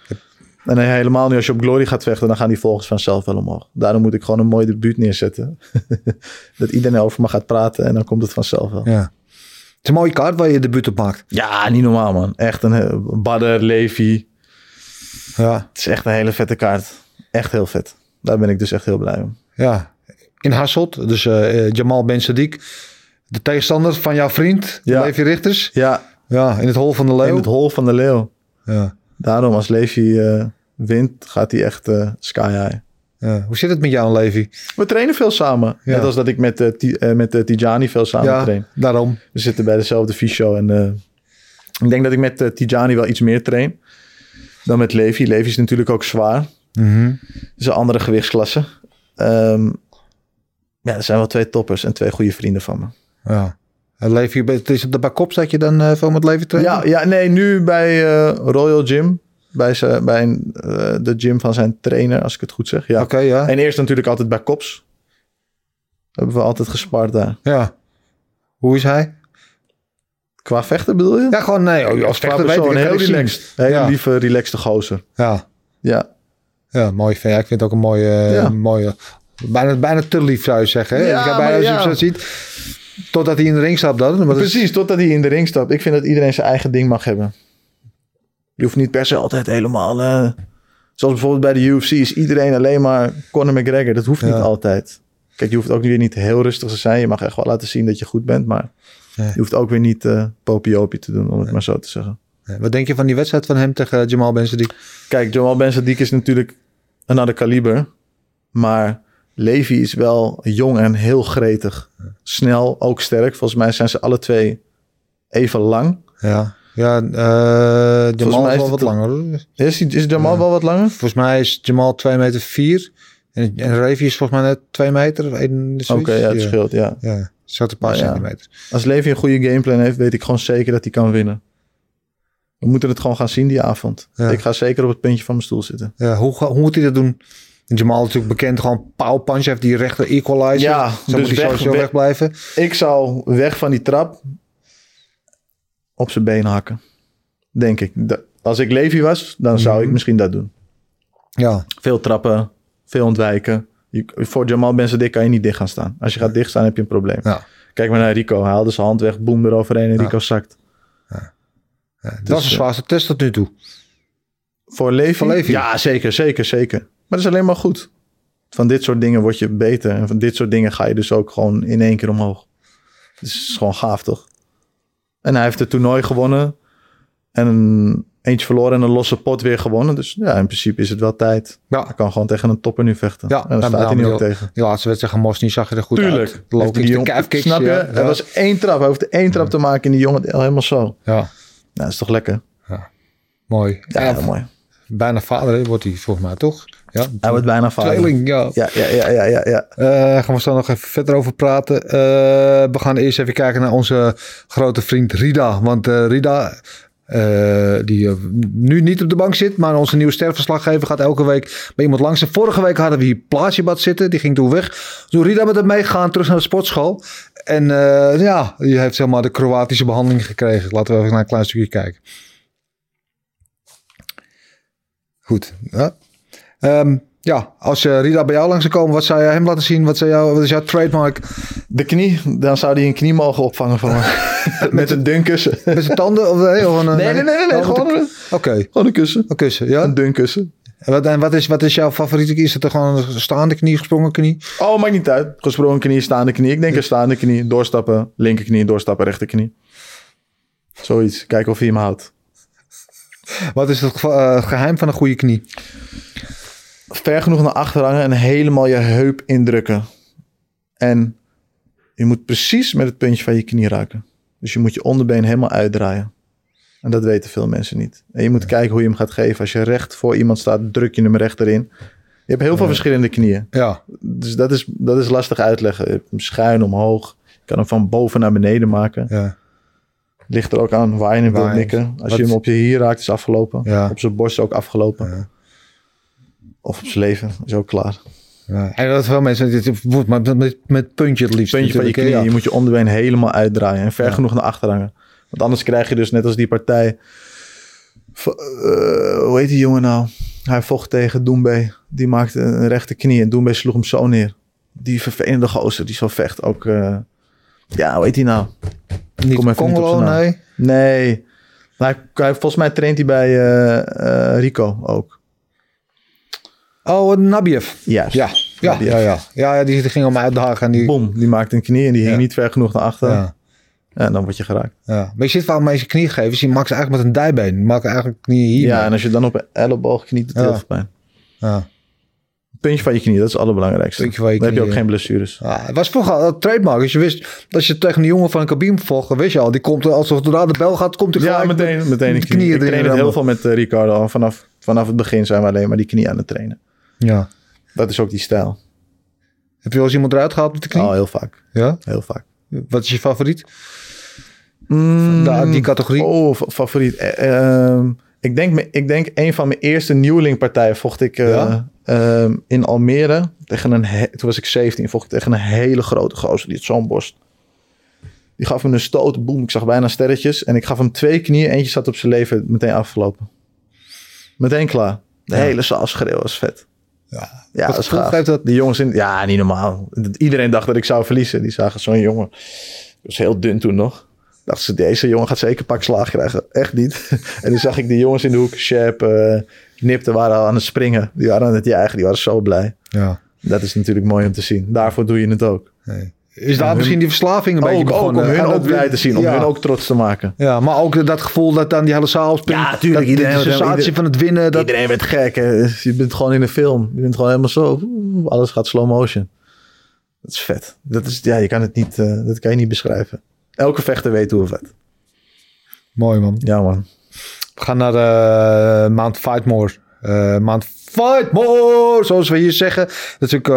En nee, helemaal nu als je op Glory gaat vechten, dan gaan die volgers vanzelf wel omhoog. Daarom moet ik gewoon een mooi debuut neerzetten. dat iedereen over me gaat praten en dan komt het vanzelf wel. Ja, ja. Het is een mooie kaart waar je debuut op maakt. niet normaal man. Echt een he- Badder, Levi. Ja. Het is echt een hele vette kaart. Echt heel vet. Daar ben ik dus echt heel blij om. ja. In Hasselt, dus eh, eh, Jamal Ben Sadiq. De tegenstander van jouw vriend, Ja. Levi Richters. Ja, Ja, in het hol van de leeuw. in het hol van de leeuw. ja. Daarom, als Levi eh, wint, gaat hij echt eh, sky high. Ja. Hoe zit het met jou en Levi? We trainen veel samen. Ja. Net als dat ik met, eh, Ti- eh, met eh, Tijani veel samen train. daarom. We zitten bij dezelfde fysio. En eh, ik denk dat ik met eh, Tijani wel iets meer train dan met Levi. Levi is natuurlijk ook zwaar. Mhm. Het is een andere gewichtsklasse. Ehm, ja, er zijn wel twee toppers en twee goede vrienden van me. Ja. En Levi, het is op de bakop dat je dan eh, veel met Levi trainen? Ja, ja, nee, nu bij eh, Royal Gym. Bij, zijn, bij een, eh, de gym van zijn trainer, als ik het goed zeg. Ja. Oké, ja. En eerst natuurlijk altijd bij Kops. Hebben we altijd gespart daar. ja. Hoe is hij? Qua vechten bedoel je? Ja, gewoon nee. Als Qua vechter weet ik persoon, het heel niet. relaxed. Hele Ja. lieve, relaxte gozer. Ja. Ja. Ja, mooi fan. Ja, ik vind het ook een mooie, eh, Ja. mooie bijna, bijna te lief zou je zeggen. hè? Ja, ik heb maar bijna als je ja. hem zo ziet, totdat hij in de ring stapt dan. Maar dat is- Precies, totdat hij in de ring stapt. Ik vind dat iedereen zijn eigen ding mag hebben. Je hoeft niet per se altijd helemaal... eh, zoals bijvoorbeeld bij de UFC is iedereen alleen maar Conor McGregor. Dat hoeft Ja. niet altijd. Kijk, je hoeft ook weer niet heel rustig te zijn. Je mag echt wel laten zien dat je goed bent. Maar Nee. je hoeft ook weer niet eh popiopie te doen, om het maar zo te zeggen. Wat denk je van die wedstrijd van hem tegen Jamal Ben Sadiq? Kijk, Jamal Ben Sadiq is natuurlijk een ander kaliber. Maar Levi is wel jong en heel gretig. Snel, ook sterk. Volgens mij zijn ze alle twee even lang. Ja, ja eh, Jamal mij is wel is het wat een- langer. hoor. Is, die- is Jamal wel wat langer? Volgens mij is Jamal 2 meter 4. En, en Ravi is volgens mij net 2 meter. of één- zoiets. Oké, ja, het ja. scheelt, ja. Ja, zat een paar Ja. centimeter. Als Levi een goede gameplan heeft, weet ik gewoon zeker dat hij kan winnen. We moeten het gewoon gaan zien die avond. Ja. Ik ga zeker op het puntje van mijn stoel zitten. Ja, hoe, ga- hoe moet hij dat doen? Jamal is natuurlijk bekend, gewoon power punch. Heeft die rechter equalizer. Ja, Zo dus moet hij weg- sowieso weg- wegblijven. Ik zou weg van die trap op zijn been hakken. Denk ik. Da- Als ik Levi was, dan zou ik misschien dat doen. Ja, Veel trappen, veel ontwijken. Je- voor Jamal Ben Sadiq kan je niet dicht gaan staan. Als je gaat dichtstaan heb je een probleem. Ja. Kijk maar naar Rico. Hij haalde zijn hand weg, boem eroverheen en Rico zakt. dat is de eh, zwaarste test tot nu toe. Voor Levi? Voor Levi. Ja, zeker, zeker, zeker. Maar dat is alleen maar goed. Van dit soort dingen word je beter. En van dit soort dingen ga je dus ook gewoon in één keer omhoog. Dus het is gewoon gaaf, toch? En hij heeft het toernooi gewonnen. En een, eentje verloren en een losse pot weer gewonnen. Dus ja, in principe is het wel tijd. Ja. Hij kan gewoon tegen een topper nu vechten. Ja, en dan daar staat nou, hij nu die- ook tegen. Die laatste wedstrijd tegen Mosny zag je er goed uit. Tuurlijk. De low Heeft hij kicks, die de jong- calf kicks. Snap je? Ja, Er was één trap. Hij hoefde één trap te maken en die jongen helemaal zo. Nou, ja, dat is toch lekker? mooi. Ja, Ja, mooi. bijna vader hè, wordt hij volgens mij, toch? Ja, Hij wordt bijna vader. tweeling, ja. Ja, ja, ja, ja, ja, ja. Eh, gaan we zo nog even verder over praten. Eh, we gaan eerst even kijken naar onze grote vriend Rida. Want eh, Rida, eh, die eh, nu niet op de bank zit, maar onze nieuwe sterverslaggever gaat elke week bij iemand langs. En vorige week hadden we hier Plaatjebad zitten, die ging toen weg. Toen Rida met hem meegegaan, terug naar de sportschool. En eh, ja, die heeft helemaal de Kroatische behandeling gekregen. Laten we even naar een klein stukje kijken. Goed, ja. Ehm, ja, als eh, Rida bij jou langs zou komen, wat zou jij hem laten zien? Wat, zou jou, wat is jouw trademark? De knie, dan zou hij een knie mogen opvangen van me. Met een dunkussen. Met zijn tanden? Of, nee, of een, Nee, nee, nee, nee, nee, Oh, met gewoon een- een- Oké, Gewoon een kussen. een kussen, ja. Een dunkussen. En wat, en wat, is, wat is jouw favoriete knie? Is het er gewoon een staande knie, gesprongen knie? Oh, maakt niet uit. Gesprongen knie, staande knie. Ik denk een staande knie. Doorstappen, linkerknie, doorstappen, rechterknie. Zoiets. Kijken of hij hem houdt. Wat is het geva- eh, geheim van een goede knie? Ver genoeg naar achter hangen en helemaal je heup indrukken. En je moet precies met het puntje van je knie raken. Dus je moet je onderbeen helemaal uitdraaien. En dat weten veel mensen niet. En je moet kijken hoe je hem gaat geven. Als je recht voor iemand staat, druk je hem recht erin. Je hebt heel veel verschillende knieën. Ja, Dus dat is, dat is lastig uitleggen. Je hebt hem schuin omhoog. Je kan hem van boven naar beneden maken. ja, Ligt er ook aan waar je hem Waar wilt je- mikken. Als wat- je hem op je hier raakt, is afgelopen. Ja. Op zijn borst ook afgelopen. Ja. Of op zijn leven, is ook klaar. ja. En dat veel mensen, dit moet maar met, met puntje het liefst. Puntje van Dus je knie, natuurlijk, hè, je moet je onderbeen helemaal uitdraaien. En ver genoeg naar achter hangen. Want anders krijg je dus net als die partij. v- eh, hoe heet die jongen nou? Hij vocht tegen Doembe. Die maakte een rechte knie en Doembe sloeg hem zo neer. Die vervelende gozer die zo vecht ook. eh, ja, hoe heet die nou? Niet kom even niet op Congolo, zijn naam. nee. Nee. Maar hij- hij- volgens mij traint hij bij eh, eh, Rico ook. Oh, een Nabiev. Juist. Ja, ja, Nabiev. ja, ja. ja, ja, die, die ging om uitdagen. En die, Bom, die maakt een knie en die hing Ja. niet ver genoeg naar achter. Ja, En dan word je geraakt. ja. Maar je zit waarom hij zijn knie geven. Is die Max eigenlijk met een dijbeen. Die maken eigenlijk knieën hier. ja, en als je dan op een elleboog knie doet, doet Ja. het pijn. Ja. Puntje van je knie, dat is het allerbelangrijkste. Puntje van je dan heb je ook knie, geen blessures. Ja, het was vroeger al een trademark. Dus je wist, als je tegen een jongen van een kabine vocht, wist je al, die komt er alsof zodra de bel gaat, komt hij Ja, gelijk meteen, met- meteen met een de knie. knieën Ik train erin het heel rammen. veel met eh, Ricardo al. Vanaf, vanaf het begin zijn we alleen maar die knie aan het trainen. Ja. Dat is ook die stijl. Heb je wel eens iemand eruit gehaald met de knie? Oh, heel vaak. Ja. Heel vaak. Wat is je favoriet? Mm, Nou, die categorie. Oh, fa- favoriet. Eh, ehm, ik, denk, me- ik denk een van mijn eerste nieuwelingpartijen vocht ik eh, Ja? ehm, in Almere. Tegen een he- Toen was ik 17, vocht ik tegen een hele grote gozer. Die had zo'n borst. Die gaf me een stoot, boem, ik zag bijna sterretjes. En ik gaf hem twee knieën, eentje zat op zijn leven, meteen afgelopen. Meteen klaar. De hele zaal schreeuwen was vet. Ja. Ja, Wat dat is gevoel gaaf. geeft dat? Die jongens in... Ja, niet normaal. Iedereen dacht dat ik zou verliezen. Die zagen zo'n jongen. Ik was heel dun toen nog. Dachten ze, deze jongen gaat zeker een pak slaag krijgen. Echt niet. en toen zag ik die jongens in de hoek. Shep, eh Nipte waren al aan het springen. Die waren aan het jagen. Die waren zo blij. Ja. Dat is natuurlijk mooi om te zien. Daarvoor doe je het ook. Nee. Is daar misschien die verslaving een beetje Ook, ook om begonnen? hun En ook dat- blij te zien. Om ja. hun ook trots te maken. Ja, maar ook dat gevoel dat dan die hele zaal springt. Ja, tuurlijk, Dat, iedereen- de sensatie iedereen- van het winnen. Dat, Iedereen werd gek. Hè? Dus Je bent gewoon in een film. Je bent gewoon helemaal zo. oeh, Alles gaat slow motion. Dat is vet. Dat is, ja, je kan het niet, eh, dat kan je niet beschrijven. Elke vechter weet hoe vet. Mooi man. Ja, man. We gaan naar eh Mount Fightmore. Eh Mount Fightmore, zoals we hier zeggen. Dat is ook eh,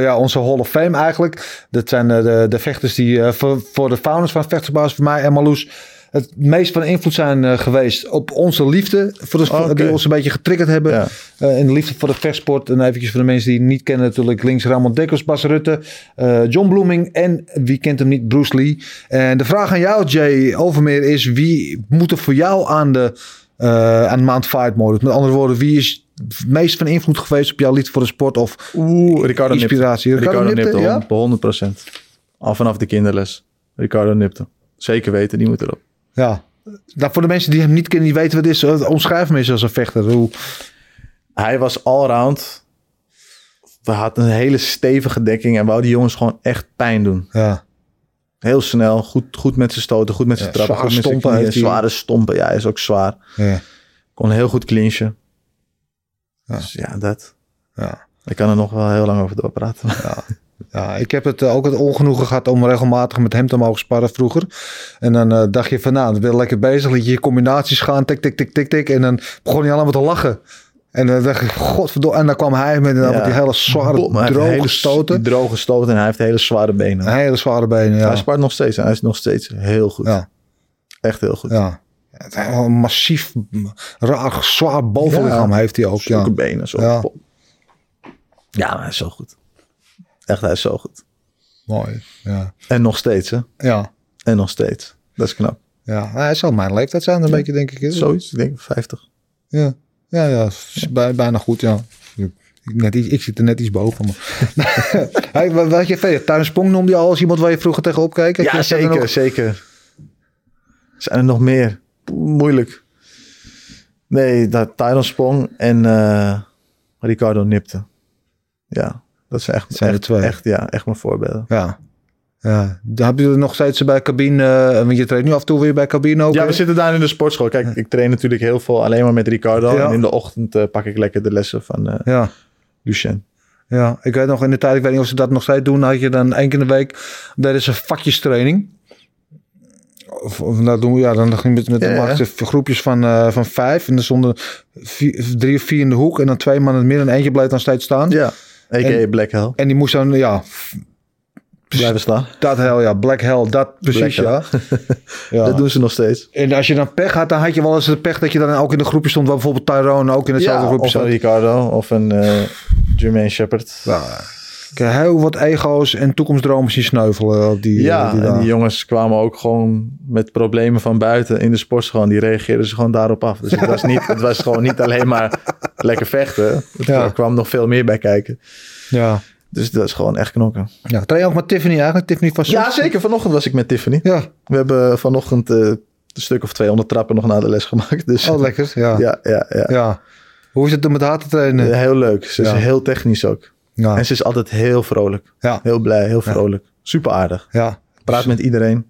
ja, onze Hall of Fame eigenlijk. Dat zijn eh, de, de vechters die eh, voor, voor de founders van Vechtersbaas, voor mij en Marloes, het meest van invloed zijn eh, geweest op onze liefde. Voor de, voor- Oké. Die ons een beetje getriggerd hebben. Ja. Eh, in de liefde voor de vechtsport. En eventjes voor de mensen die het niet kennen natuurlijk. Links Ramon Dekkers, Bas Rutte, eh, John Bloeming en wie kent hem niet, Bruce Lee. En de vraag aan jou Jay Overmeer is wie moet er voor jou aan de, eh aan de maand fight mode? Met andere woorden, wie is het meest van invloed geweest op jouw liefde voor de sport? Of Oeh, Ricardo Nipte. Inspiratie. Ricardo Ricardo, Nipte, Nipte, hond- 100%. Al vanaf de kinderles. Ricardo Nipte. Zeker weten, die moet erop. ja... Nou, voor de mensen die hem niet kennen, die weten wat het is. eh, Omschrijf hem eens als een vechter. Hoe, Hij was allround. Hij had een hele stevige dekking en wou die jongens gewoon echt pijn doen. ja, Heel snel, goed, goed met zijn stoten, goed met zijn Ja, trappen, zware goed met zijn stompen knieën, heeft hij. zware stompen. Ja, hij is ook zwaar. ja, Kon heel goed clinchen. Ja. Dus ja, dat. ja. Ik kan er nog wel heel lang over doorpraten. Ja, ik heb het, eh, ook het ongenoegen gehad om regelmatig met hem te mogen sparren vroeger. En dan eh, dacht je van nou, dan ben je lekker bezig. Liet je je combinaties gaan, tik, tik, tik, tik, tik. En dan begon hij allemaal te lachen. En dan dacht ik, godverdomme. En dan kwam hij met, Ja. met die hele zware, Bom, hij heeft droge hele stoten. Droge stoten en hij heeft hele zware benen. Hele zware benen, ja. Hij spart nog steeds en hij is nog steeds heel goed. Ja. Echt heel goed. ja. Het is wel Een massief, m, raar, zwaar bovenlichaam Ja. heeft hij ook. Ja. Zulke benen. Zo. Ja. Ja. ja, maar hij is zo goed. Echt, hij is zo goed. Mooi, ja. En nog steeds, hè. Ja, En nog steeds. Dat is knap. ja. Nou, hij zal mijn leeftijd zijn een beetje, denk ik. Zoiets, ik denk 50. Ja, ja, ja. is bij- bijna goed, ja. Ik, net iets, ik zit er net iets boven. Maar. hey, wa- wat je verder? Tuinsprong noemde je al als iemand waar je vroeger tegen opkeek? Heb ja, je verder zeker, nog- zeker. Zijn er nog meer? Poeh, Moeilijk. Nee, dat Tyron sprong en eh, Ricardo nipte. Ja, dat zijn echt, Zijn er echt, twee. echt, ja, echt mijn voorbeelden. Ja. ja. Dan heb je er nog steeds bij cabine. eh, want je treedt nu af en toe weer bij cabine ook. Ja, hè? we zitten daar in de sportschool. Kijk, ik train natuurlijk heel veel alleen maar met Ricardo. Ja. En in de ochtend eh, pak ik lekker de lessen van eh ja. Lucien. Ja, ik weet nog in de tijd, ik weet niet of ze dat nog steeds doen, had je dan één keer in de week, dat is een vakjestraining. Of, of nou doen we, ja, dan ging je met, met Ja, ja. maakte groepjes van, eh, van vijf en er stonden vier- drie of vier in de hoek en dan twee man in het midden en eentje bleef dan steeds staan. Ja, a.k.a. En- Black Hell. En die moest dan, ja, Blijven staan. dat hel, ja, black hell, dat precies, Black ja. ja. Dat doen ze nog steeds. En als je dan pech had, dan had je wel eens de pech dat je dan ook in een groepje stond, waar bijvoorbeeld Tyrone ook in hetzelfde Ja, groepje of een zat. Ricardo of een eh Jermaine Shepard. Ja. Ik heb heel wat ego's en toekomstdromen zien sneuvelen op die, ja, eh, die en dagen. die jongens kwamen ook gewoon met problemen van buiten in de sportschool. En die reageerden ze gewoon daarop af. Dus het was, niet, het was gewoon niet alleen maar lekker vechten. Er Ja. kwam nog veel meer bij kijken. ja. Dus dat is gewoon echt knokken. ja. Train je ook met Tiffany eigenlijk? Tiffany van Ja, Soest? zeker. Vanochtend was ik met Tiffany. Ja, We hebben vanochtend eh, een stuk of 200 trappen nog na de les gemaakt. Dus oh lekker. Ja. Ja. ja, ja, ja. Eh, Hoe is het om met haar te trainen? Ja. Heel leuk. Ze is Ja. heel technisch ook. Ja. En ze is altijd heel vrolijk. ja. Heel blij, heel vrolijk. Super aardig. Praat met iedereen.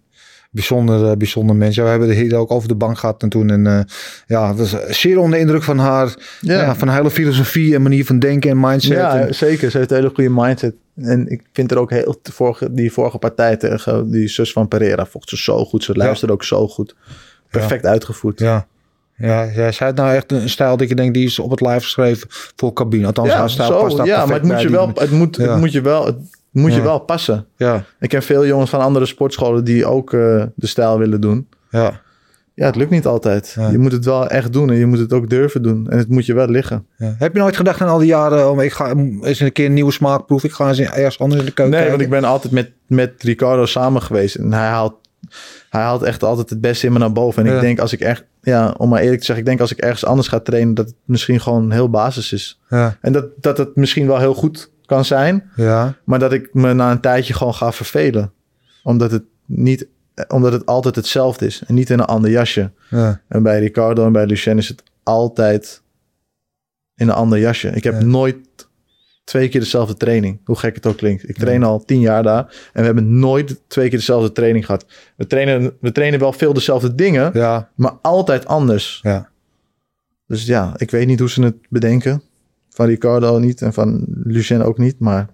Bijzonder, eh, bijzonder mens. Ja, we hebben de hier ook over de bank gehad en toen. En eh, ja, was zeer onder de indruk van haar. Ja. Ja. van haar hele filosofie en manier van denken en mindset. Ja, En- zeker. Ze heeft een hele goede mindset. En ik vind er ook heel... de Vorige, die vorige partij tegen die zus van Pereira vocht ze zo goed. Ze luisterde ook zo goed. Perfect uitgevoerd. ja. Ja, ja, zij had nou echt een stijl dat je denkt, die is op het live geschreven voor cabine. Althans, haar stijl zo, past daar ja perfect maar het moet, bij je die- wel, het, moet, Ja. het moet je wel... Het moet Ja. je wel passen. Ja, Ik ken veel jongens van andere sportscholen die ook eh, de stijl willen doen. ja, Ja, het lukt niet altijd. Ja. Je moet het wel echt doen en je moet het ook durven doen. En het moet je wel liggen. ja. Heb je nooit gedacht in al die jaren, oh, ik ga eens een keer een nieuwe smaakproef. Ik ga eens ergens anders in de keuken Nee, want ik kijken? ben altijd met, met Ricardo samen geweest. En hij haalt, hij haalt echt altijd het beste in me naar boven. En Ja. ik denk als ik echt, ja, om maar eerlijk te zeggen, ik denk als ik ergens anders ga trainen, dat het misschien gewoon heel basis is. Ja, En dat, dat het misschien wel heel goed kan zijn, ja, maar dat ik me na een tijdje gewoon ga vervelen. Omdat het, niet, eh, omdat het altijd hetzelfde is en niet in een ander jasje. ja, En bij Ricardo en bij Lucien is het altijd in een ander jasje. Ik heb Ja. nooit twee keer dezelfde training. Hoe gek het ook klinkt. Ik train al tien jaar daar. En we hebben nooit twee keer dezelfde training gehad. We trainen, we trainen wel veel dezelfde dingen, ja, maar altijd anders. ja. Dus ja, ik weet niet hoe ze het bedenken. Van Ricardo niet en van Lucien ook niet. Maar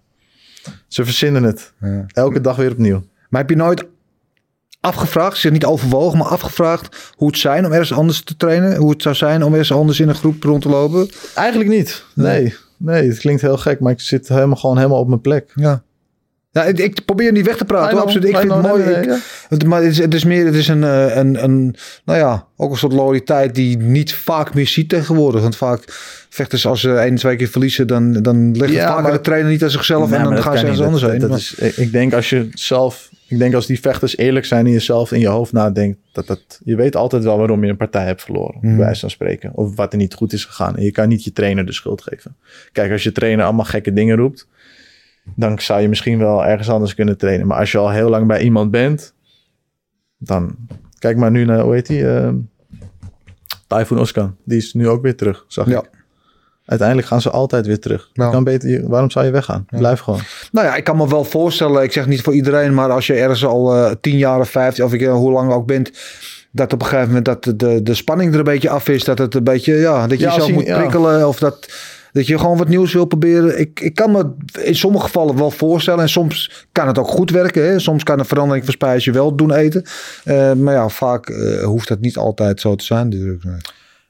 ze verzinnen het. ja. Elke dag weer opnieuw. Maar heb je nooit afgevraagd, zich niet overwogen, maar afgevraagd hoe het zijn om ergens anders te trainen? Hoe het zou zijn om ergens anders in een groep rond te lopen? Eigenlijk niet. Nee. Nee, het klinkt heel gek, maar ik zit helemaal, gewoon helemaal op mijn plek. Ja. Ja, ik, ik probeer niet weg te praten. I know, hoor, absoluut. Ik I vind het know, mooi. nee, nee, ik- ja. het- maar het is, het is meer, het is een, eh, een, een, nou ja, ook een soort loyaliteit die je niet vaak meer ziet tegenwoordig. Want vaak vechters als ze één, twee keer verliezen, dan, dan ligt Ja, het vaak maar- aan de trainer niet aan zichzelf Nee, en dan maar gaan dat ze kan ergens niet. anders Dat- heen. dat Maar- is- ik- ik denk als je zelf, ik denk als die vechters eerlijk zijn in jezelf, in je hoofd nadenkt, dat dat, je weet altijd wel waarom je een partij hebt verloren, Mhm. bij wijze van spreken, of wat er niet goed is gegaan. En je kan niet je trainer de schuld geven. Kijk, als je trainer allemaal gekke dingen roept, dan zou je misschien wel ergens anders kunnen trainen. Maar als je al heel lang bij iemand bent, dan kijk maar nu naar hoe heet die? ehm, Typhoon Oskan. Die is nu ook weer terug, zag Ja. ik. Uiteindelijk gaan ze altijd weer terug. Je Ja. Kan beter, je- waarom zou je weggaan? Blijf gewoon. Nou ja, ik kan me wel voorstellen, ik zeg niet voor iedereen, maar als je ergens al eh, tien jaar of vijftien, of ik, eh, hoe lang ook bent, dat op een gegeven moment dat de- de, de spanning er een beetje af is, dat het een beetje, ja, dat je Ja, als jezelf je- moet ja. prikkelen of dat, dat je gewoon wat nieuws wil proberen. Ik, ik kan me in sommige gevallen wel voorstellen en soms kan het ook goed werken. Hè? Soms kan een verandering van spijs je wel doen eten. Eh, maar ja, vaak eh, hoeft dat niet altijd zo te zijn natuurlijk. Nee.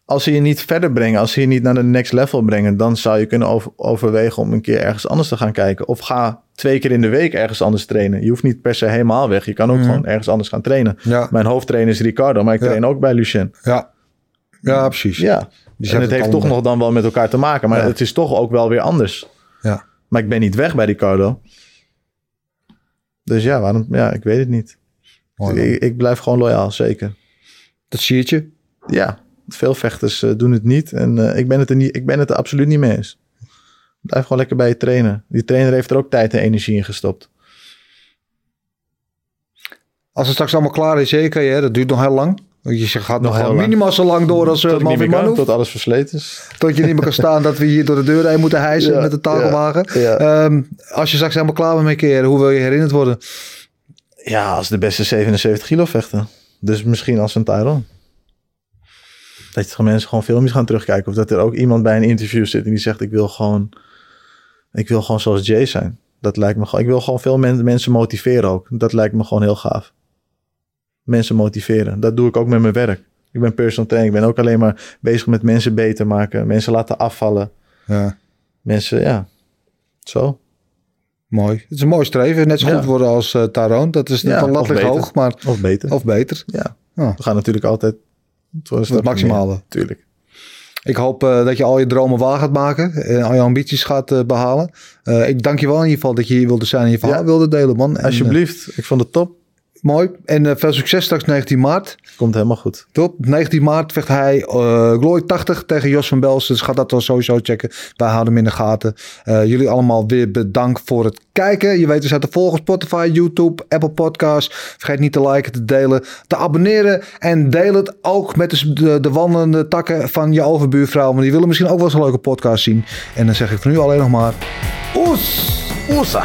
als ze je niet verder brengen, als ze je niet naar de next level brengen, dan zou je kunnen over- overwegen om een keer ergens anders te gaan kijken. Of ga twee keer in de week ergens anders trainen. Je hoeft niet per se helemaal weg. Je kan ook gewoon ergens anders gaan trainen. Mhm. Ja. Mijn hoofdtrainer is Ricardo, maar ik Ja. train ook bij Lucien. Ja. ja, precies. Ja. Dus je en hebt het het heeft allemaal. toch nog dan wel met elkaar te maken, maar Ja. het is toch ook wel weer anders. Ja. Maar ik ben niet weg bij Ricardo. Dus ja, waarom? Ja, ik weet het niet. Mooi, man. ik, ik blijf gewoon loyaal, zeker. dat zie je. het je. ja, veel vechters eh, doen het niet. En eh, ik, ben het er niet, ik ben het er absoluut niet mee eens. Blijf gewoon lekker bij je trainen. Die trainer heeft er ook tijd en energie in gestopt. Als het straks allemaal klaar is, zeker, hè, dat duurt nog heel lang. Want Je gaat nog, heel gewoon lang. minimaal zo lang door als Tot uh, ik niet Malvin meer kan, Manhoef. tot alles versleten is. Tot je niet meer kan staan dat we hier door de deur heen moeten hijsen Ja, met de takelwagen. ja, Ehm, als je straks helemaal klaar bent met een keer, hoe wil je herinnerd worden? Ja, als de beste 77 kilo vechten. Dus misschien als een Tyron. Dat je mensen gewoon filmpjes gaan terugkijken. Of dat er ook iemand bij een interview zit en die zegt... ik wil gewoon, ik wil gewoon zoals Jay zijn. Dat lijkt me gewoon... Ik wil gewoon veel men- mensen motiveren ook. Dat lijkt me gewoon heel gaaf. Mensen motiveren. Dat doe ik ook met mijn werk. Ik ben personal trainer. Ik ben ook alleen maar bezig met mensen beter maken. Mensen laten afvallen. Ja, Mensen, ja. Zo. mooi. Het is een mooi streven. Net zo Ja. goed worden als eh Taroon. Dat is Ja, ja, of latelijk beter. hoog, maar Of beter. of beter. ja. Ja. We gaan natuurlijk altijd... voor een Het stapje meer. maximale. Tuurlijk. Ik hoop eh, dat je al je dromen waar gaat maken. En al je ambities gaat eh, behalen. Eh, ik dank je wel in ieder geval dat je hier wilde zijn en je verhaal Ja. wilde delen, man. En, eh, Alsjeblieft, ik vond het top. mooi. En eh, veel succes straks 19 maart. Komt helemaal goed. Top. 19 maart vecht hij eh Glory 80 tegen Jos van Belsen. Dus ga dat dan sowieso checken. Wij houden hem in de gaten. Eh, jullie allemaal weer bedankt voor het kijken. Je weet, we zijn te volgen op Spotify, YouTube, Apple Podcasts. Vergeet niet te liken, te delen, te abonneren. En deel het ook met de, de, de wandelende takken van je overbuurvrouw. Want die willen misschien ook wel eens een leuke podcast zien. En dan zeg ik van nu alleen nog maar... Oes! Oesa!